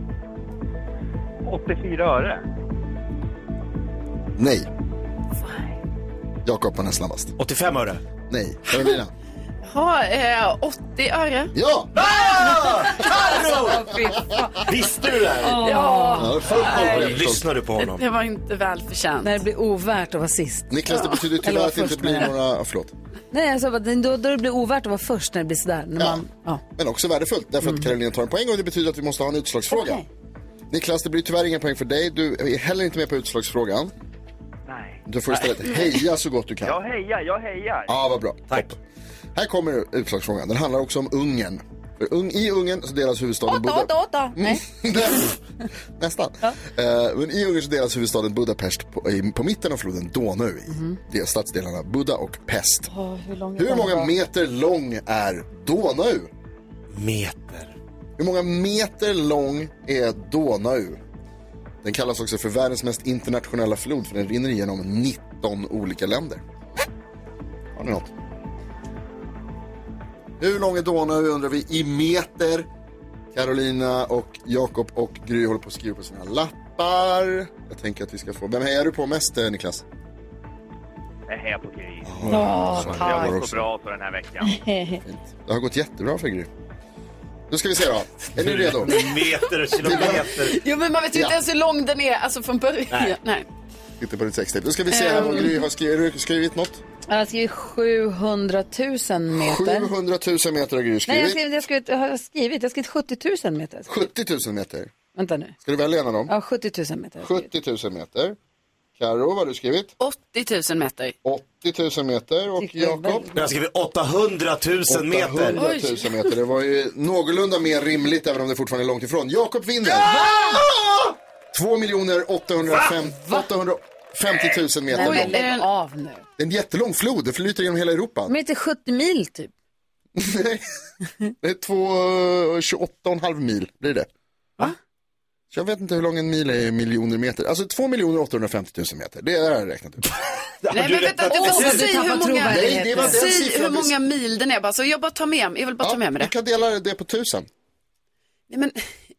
[SPEAKER 16] 84 öre.
[SPEAKER 6] Nej. Jakob var näst snabbast.
[SPEAKER 3] 85 öre.
[SPEAKER 6] Nej. Carolina?
[SPEAKER 7] Ha, eh, 80 öre.
[SPEAKER 6] Ja!
[SPEAKER 7] Alltså, fy fan.
[SPEAKER 3] Visste du det här?
[SPEAKER 7] Ja.
[SPEAKER 6] Ja, full koll på det förstås.
[SPEAKER 3] Lyssnar du på honom?
[SPEAKER 7] Det var inte välförtjänt.
[SPEAKER 1] När det blir ovärt att vara sist.
[SPEAKER 6] Niklas, det betyder
[SPEAKER 1] Eller
[SPEAKER 6] tyvärr
[SPEAKER 1] vara
[SPEAKER 6] att det inte
[SPEAKER 1] först med
[SPEAKER 6] blir
[SPEAKER 1] det.
[SPEAKER 6] några... Förlåt.
[SPEAKER 1] Nej, jag sa bara då, då det blir ovärt att vara först när det blir sådär. När man, ja.
[SPEAKER 6] Men också värdefullt, därför att Karolina tar en poäng och det betyder att vi måste ha en utslagsfråga. Niklas, det blir tyvärr ingen poäng för dig. Du är heller inte med på utslagsfrågan.
[SPEAKER 16] Nej.
[SPEAKER 6] Du får istället
[SPEAKER 16] Nej.
[SPEAKER 6] heja så gott du kan.
[SPEAKER 16] Jag hejar, jag hejar.
[SPEAKER 6] Ja, vad bra. Tack. Här kommer utslagsfrågan. Den handlar också om Ungern. För Ung- I Ungern så delas huvudstaden Budapest.
[SPEAKER 5] åtta. Nej.
[SPEAKER 6] Mm. Nästan. Eh, men I Ungern så delas huvudstaden Budapest på, i, på mitten av floden Donau i de stadsdelarna Buda och Pest.
[SPEAKER 1] Mhm. Åh, hur lång är
[SPEAKER 6] Hur
[SPEAKER 1] den
[SPEAKER 6] många
[SPEAKER 1] då?
[SPEAKER 6] meter lång är Donau? Meter. Hur många meter lång är Donau? Den kallas också för världens mest internationella flod för den rinner igenom 19 olika länder. Har ni något? Hur lång är Donau undrar vi i meter. Carolina och Jakob och Gry håller på att skriva på sina lappar. Jag tänker att vi ska få... Vem hejar du på mest, eh, Niklas?
[SPEAKER 16] Jag hejar på Gry.
[SPEAKER 6] Ja,
[SPEAKER 16] det
[SPEAKER 6] tack.
[SPEAKER 16] har gått så bra för den här veckan.
[SPEAKER 6] Det har gått jättebra för Gry. Nu ska vi se då. Är ni redo?
[SPEAKER 3] Meter, kilometer.
[SPEAKER 7] Jo, men man vet ju inte
[SPEAKER 6] Ja.
[SPEAKER 7] ens hur lång den är, alltså från början.
[SPEAKER 6] Nej.
[SPEAKER 7] Nej.
[SPEAKER 6] Titta på ditt sextape. Då ska vi se här om
[SPEAKER 1] Ehm.
[SPEAKER 6] Gry har skrivit, har du skrivit något.
[SPEAKER 1] Jag har skrivit 700 000 meter.
[SPEAKER 6] 700 000 meter har Gry
[SPEAKER 1] Nej, jag,
[SPEAKER 6] skrivit.
[SPEAKER 1] skrev, jag, skrev, jag har skrivit. Jag har skrivit 70 000 meter.
[SPEAKER 6] 70 000 meter.
[SPEAKER 1] Vänta nu.
[SPEAKER 6] Ska du välja en av dem?
[SPEAKER 1] Ja, 70 000 meter.
[SPEAKER 6] 70 000 meter. Karo, vad har du skrivit?
[SPEAKER 7] 80 000 meter.
[SPEAKER 6] 80 000 meter. Och Jakob?
[SPEAKER 3] Jag har skrivit 800 000 meter.
[SPEAKER 6] 800 000 meter. Det var ju någorlunda mer rimligt även om det fortfarande är långt ifrån. Jakob vinner! 2 miljoner 850 000 meter.
[SPEAKER 1] Nej, men
[SPEAKER 7] eh,
[SPEAKER 1] lägg av nu.
[SPEAKER 6] Det är en jättelång flod, det flyter genom hela Europa.
[SPEAKER 1] Men inte 70 mil typ.
[SPEAKER 6] Det är två, eh, 28 och en halv mil blir det. Va? Så jag vet inte hur lång en mil är i miljoner meter. Alltså 2 miljoner 850 000 meter, det har jag räknat ut.
[SPEAKER 7] Nej, men vänta, du måste säga hur många,
[SPEAKER 6] Nej, det var den
[SPEAKER 7] säg hur
[SPEAKER 6] siffran vi-
[SPEAKER 7] många mil den är bara. Så jag bara tar med mig, jag vill bara ta med mig
[SPEAKER 6] Du
[SPEAKER 7] det.
[SPEAKER 6] kan dela det på tusen.
[SPEAKER 7] Nej, men...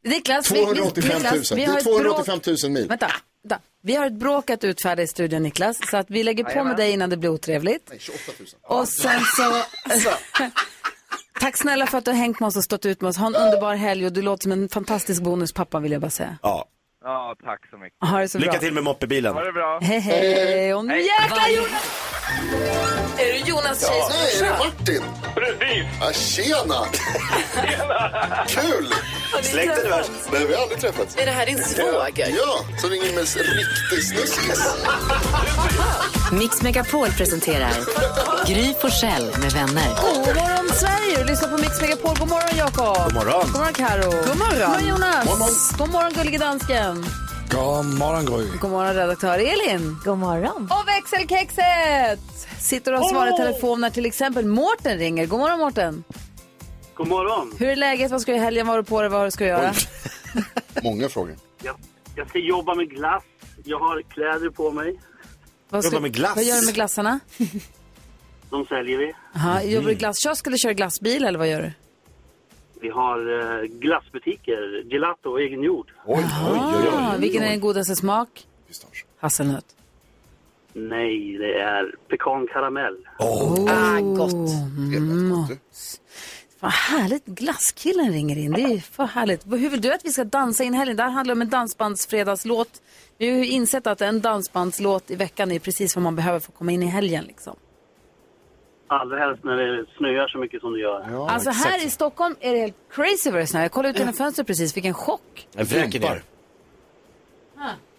[SPEAKER 1] Niklas, vi- vi-
[SPEAKER 6] 285 000.
[SPEAKER 1] Niklas,
[SPEAKER 6] Det
[SPEAKER 1] vi har
[SPEAKER 6] är
[SPEAKER 1] ett bråk-
[SPEAKER 6] 285 000 mil.
[SPEAKER 1] Vänta, vänta. Vi har ett bråk att utfärda i studion, Niklas. Så att vi lägger på med
[SPEAKER 6] Jajamän.
[SPEAKER 1] dig innan det blir otrevligt.
[SPEAKER 6] 28 000.
[SPEAKER 1] Och sen så...
[SPEAKER 7] Alltså.
[SPEAKER 1] Tack snälla för att du har hängt med oss och stått ut med oss. Ha en underbar helg och du låter som en fantastisk bonuspappa vill jag bara säga.
[SPEAKER 3] Ja.
[SPEAKER 16] Ja, tack så mycket.
[SPEAKER 1] Ha det så
[SPEAKER 3] Lycka
[SPEAKER 1] bra.
[SPEAKER 3] till med moppebilen.
[SPEAKER 16] Ha det bra.
[SPEAKER 1] Hej, hej. Och nu jäklar Jonas! Är du Jonas
[SPEAKER 6] Ja,
[SPEAKER 1] Tjejs
[SPEAKER 6] nej, är det Martin?
[SPEAKER 16] Precis.
[SPEAKER 6] Ja, tjena! Kul!
[SPEAKER 3] Släkt eller värst?
[SPEAKER 6] Nej, vi har aldrig träffats.
[SPEAKER 7] Är det här din svåger?
[SPEAKER 6] Ja, som ringer med riktig snuskis.
[SPEAKER 1] Mm.
[SPEAKER 2] Mix Megapol presenterar Gry Forssell med vänner.
[SPEAKER 1] God morgon Sverige! Du lyssnar på Mix Megapol. God morgon Jakob!
[SPEAKER 2] God morgon.
[SPEAKER 1] God morgon Karo. God
[SPEAKER 7] morgon.
[SPEAKER 1] God morgon Jonas!
[SPEAKER 9] God morgon.
[SPEAKER 1] God morgon gullige dansken!
[SPEAKER 9] God morgon Gry.
[SPEAKER 1] God morgon redaktör Elin! God morgon! Och växelkexet! Sitter och svarar i telefon när till exempel Mårten ringer. God morgon Mårten!
[SPEAKER 18] God morgon.
[SPEAKER 1] Hur är läget? Vad ska du i helgen? Vad har du på dig? Vad ska du göra?
[SPEAKER 6] Många frågor.
[SPEAKER 18] Jag, jag ska jobba med glass. Jag har kläder på mig.
[SPEAKER 1] Vad, ska,
[SPEAKER 18] Jobbar med glass.
[SPEAKER 1] vad gör du med glassarna?
[SPEAKER 18] De säljer vi.
[SPEAKER 1] Aha,
[SPEAKER 18] Mm.
[SPEAKER 1] Jobbar du i glasskiosk eller kör glassbil eller vad gör du?
[SPEAKER 18] Vi har eh, glassbutiker, gelato och egengjord.
[SPEAKER 6] Oj,
[SPEAKER 1] Ah, vilken är den godaste smak? Hasselnöt.
[SPEAKER 18] Nej, det är pekankaramell.
[SPEAKER 1] Ah, gott. Mm. Vad härligt. Glasskillen ringer in. Det är ju för härligt. Hur vill du att vi ska dansa in helgen? Det här handlar om en dansbandsfredagslåt. Vi har ju insett att en dansbandslåt i veckan är precis vad man behöver för att komma in i helgen. Liksom.
[SPEAKER 18] Allra helst när det snöar så mycket som det gör.
[SPEAKER 1] alltså här i Stockholm är det helt crazy vad det snöar. Jag kollade ut genom fönstret precis, fick en chock.
[SPEAKER 3] Jag vräker ner.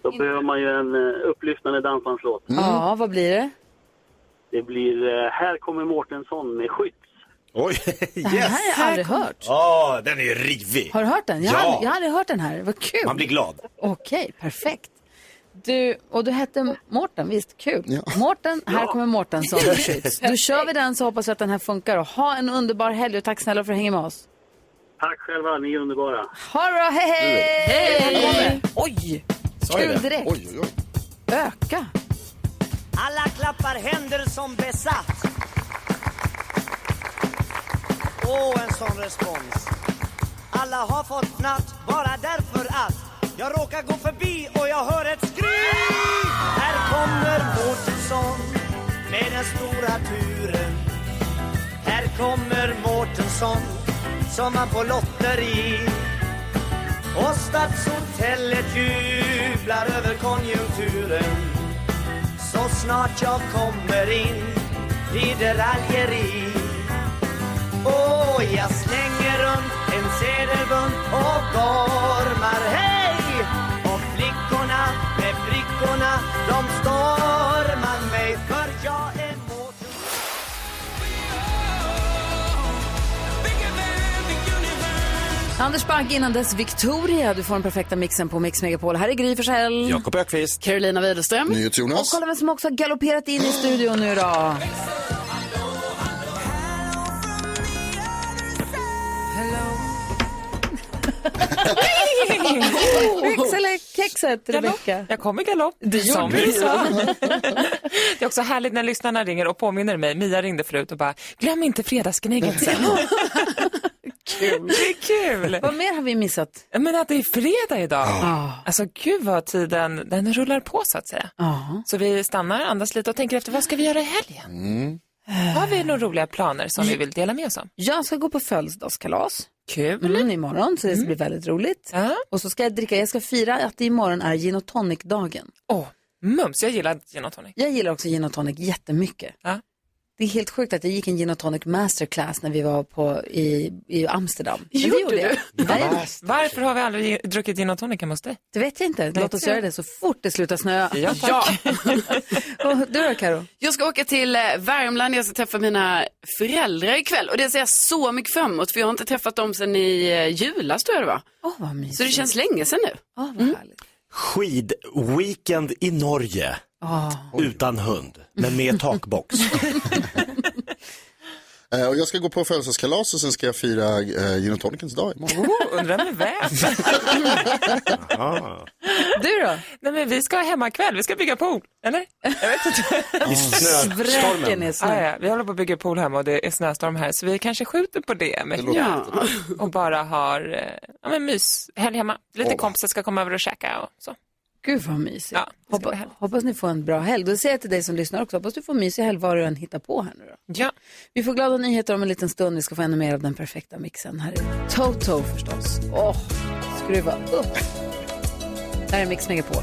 [SPEAKER 18] Då behöver man ju en eh, upplyftande dansbandslåt.
[SPEAKER 3] Mm.
[SPEAKER 1] Ja, vad blir det?
[SPEAKER 18] Det blir eh, Här kommer Mårtensson med skytt.
[SPEAKER 3] Oj,
[SPEAKER 1] Det här
[SPEAKER 3] yes.
[SPEAKER 1] har jag aldrig hört.
[SPEAKER 3] Ja, den är ju rivig.
[SPEAKER 1] Har du hört den? Jag,
[SPEAKER 3] Ja.
[SPEAKER 1] har, aldrig- jag har aldrig hört den här. Vad kul.
[SPEAKER 3] Man blir glad.
[SPEAKER 1] Okej, perfekt. Du, och du hette Mårten, visst? Kul. Mårten, här kommer Mårtensson.
[SPEAKER 5] Ja.
[SPEAKER 1] Då kör vi den så hoppas vi att den här funkar. Och ha en underbar helg och tack snälla för att du hänger med oss.
[SPEAKER 18] Tack själva, ni är underbara.
[SPEAKER 1] Ha det bra, hej hej!
[SPEAKER 18] Hej!
[SPEAKER 1] Oj!
[SPEAKER 18] Sa jag
[SPEAKER 1] Kul
[SPEAKER 18] det?
[SPEAKER 1] direkt.
[SPEAKER 18] Oj,
[SPEAKER 1] Öka.
[SPEAKER 19] Alla klappar händer som besatt. Åh, en sån respons. Alla har fått natt bara därför att jag råkar gå förbi och jag hör ett skrik. Här kommer Mårtensson med den stora turen. Här kommer Mårtensson som man på lotteri. Och Stadshotellet jublar över konjunkturen. Så snart jag kommer in blir det raljeri Åh, jag slänger runt en sedelbunt och gormar hej! Och flickorna med flickorna de stormar
[SPEAKER 1] Anders Bagge innan dess Victoria. Du får den perfekta mixen på Mix Megapol. Här är Gry Forssell.
[SPEAKER 3] Jakob Ökvist.
[SPEAKER 7] Carolina Widerström.
[SPEAKER 1] Och kolla vem som också har galopperat in i studion nu då. Kex eller kexet, Rebecka?
[SPEAKER 20] Jag kom i galopp. Det
[SPEAKER 1] gjorde du.
[SPEAKER 20] Det är också härligt när lyssnarna ringer och påminner mig. Mia ringde förut och bara, glöm inte fredagsgnägget sen. kul. Det är kul.
[SPEAKER 1] Vad mer har vi missat?
[SPEAKER 20] Men att det är fredag idag.
[SPEAKER 1] Ja.
[SPEAKER 20] Alltså gud vad tiden, den rullar på så att säga.
[SPEAKER 1] Ja.
[SPEAKER 20] Så vi stannar, andas lite och tänker efter, vad ska vi göra i helgen?
[SPEAKER 1] Mm.
[SPEAKER 20] Har vi några roliga planer som vi vill dela med oss av?
[SPEAKER 1] Jag ska gå på födelsedagskalas.
[SPEAKER 20] Kul.
[SPEAKER 1] Mm, imorgon, så det ska bli väldigt roligt. Och så ska jag dricka, jag ska fira att det imorgon är gin och tonic-dagen.
[SPEAKER 20] Åh, mums, jag gillar gin och tonic.
[SPEAKER 1] Jag gillar också gin och tonic jättemycket. Det är helt sjukt att jag gick en gin och tonic masterclass när vi var på, i, i Amsterdam. Men det gjorde jag. Nej,
[SPEAKER 20] Varför har vi aldrig ge- druckit gin och tonic hemma hos dig?
[SPEAKER 1] det vet jag inte. Låt oss göra det så fort det slutar snöa.
[SPEAKER 20] Ja, tack.
[SPEAKER 1] Och du då Karo?
[SPEAKER 7] Jag ska åka till eh, Värmland, jag ska träffa mina föräldrar ikväll och det ser jag så mycket fram emot för jag har inte träffat dem sedan i eh, julas tror jag det var.
[SPEAKER 1] Åh, vad mysigt.
[SPEAKER 20] Mm.
[SPEAKER 7] Så det känns länge sedan nu.
[SPEAKER 3] Skidweekend i Norge.
[SPEAKER 1] Ah.
[SPEAKER 3] Utan hund, men med takbox.
[SPEAKER 6] Eh, Och jag ska gå på födelsedagskalas och sen ska jag fira eh, gin och tonicens dag imorgon.
[SPEAKER 20] Undrar med vem?
[SPEAKER 1] Du då?
[SPEAKER 20] Nej, men vi ska ha hemmakväll, vi ska bygga pool, eller? Jag vet inte.
[SPEAKER 3] I snö- Svräken stormen. är snö.
[SPEAKER 20] Ah, ja. Vi håller på att bygga pool hemma och det är snöstorm här, så vi kanske skjuter på det. Men,
[SPEAKER 3] låter
[SPEAKER 20] ja. Och bara har eh, ja, men mys, helg hemma. Lite
[SPEAKER 1] Åh.
[SPEAKER 20] kompisar ska komma över och käka och så.
[SPEAKER 1] Gud vad mysigt.
[SPEAKER 20] Ja,
[SPEAKER 1] hoppas, hoppas ni får en bra helg. Då säger jag till dig som lyssnar också, hoppas du får en mysig helg var du än hittar på här nu då.
[SPEAKER 20] Ja.
[SPEAKER 1] Vi får glada nyheter om en liten stund. Vi ska få ännu mer av den perfekta mixen. Här är Toto förstås. Åh, skruva upp. Där är Mix Megapol.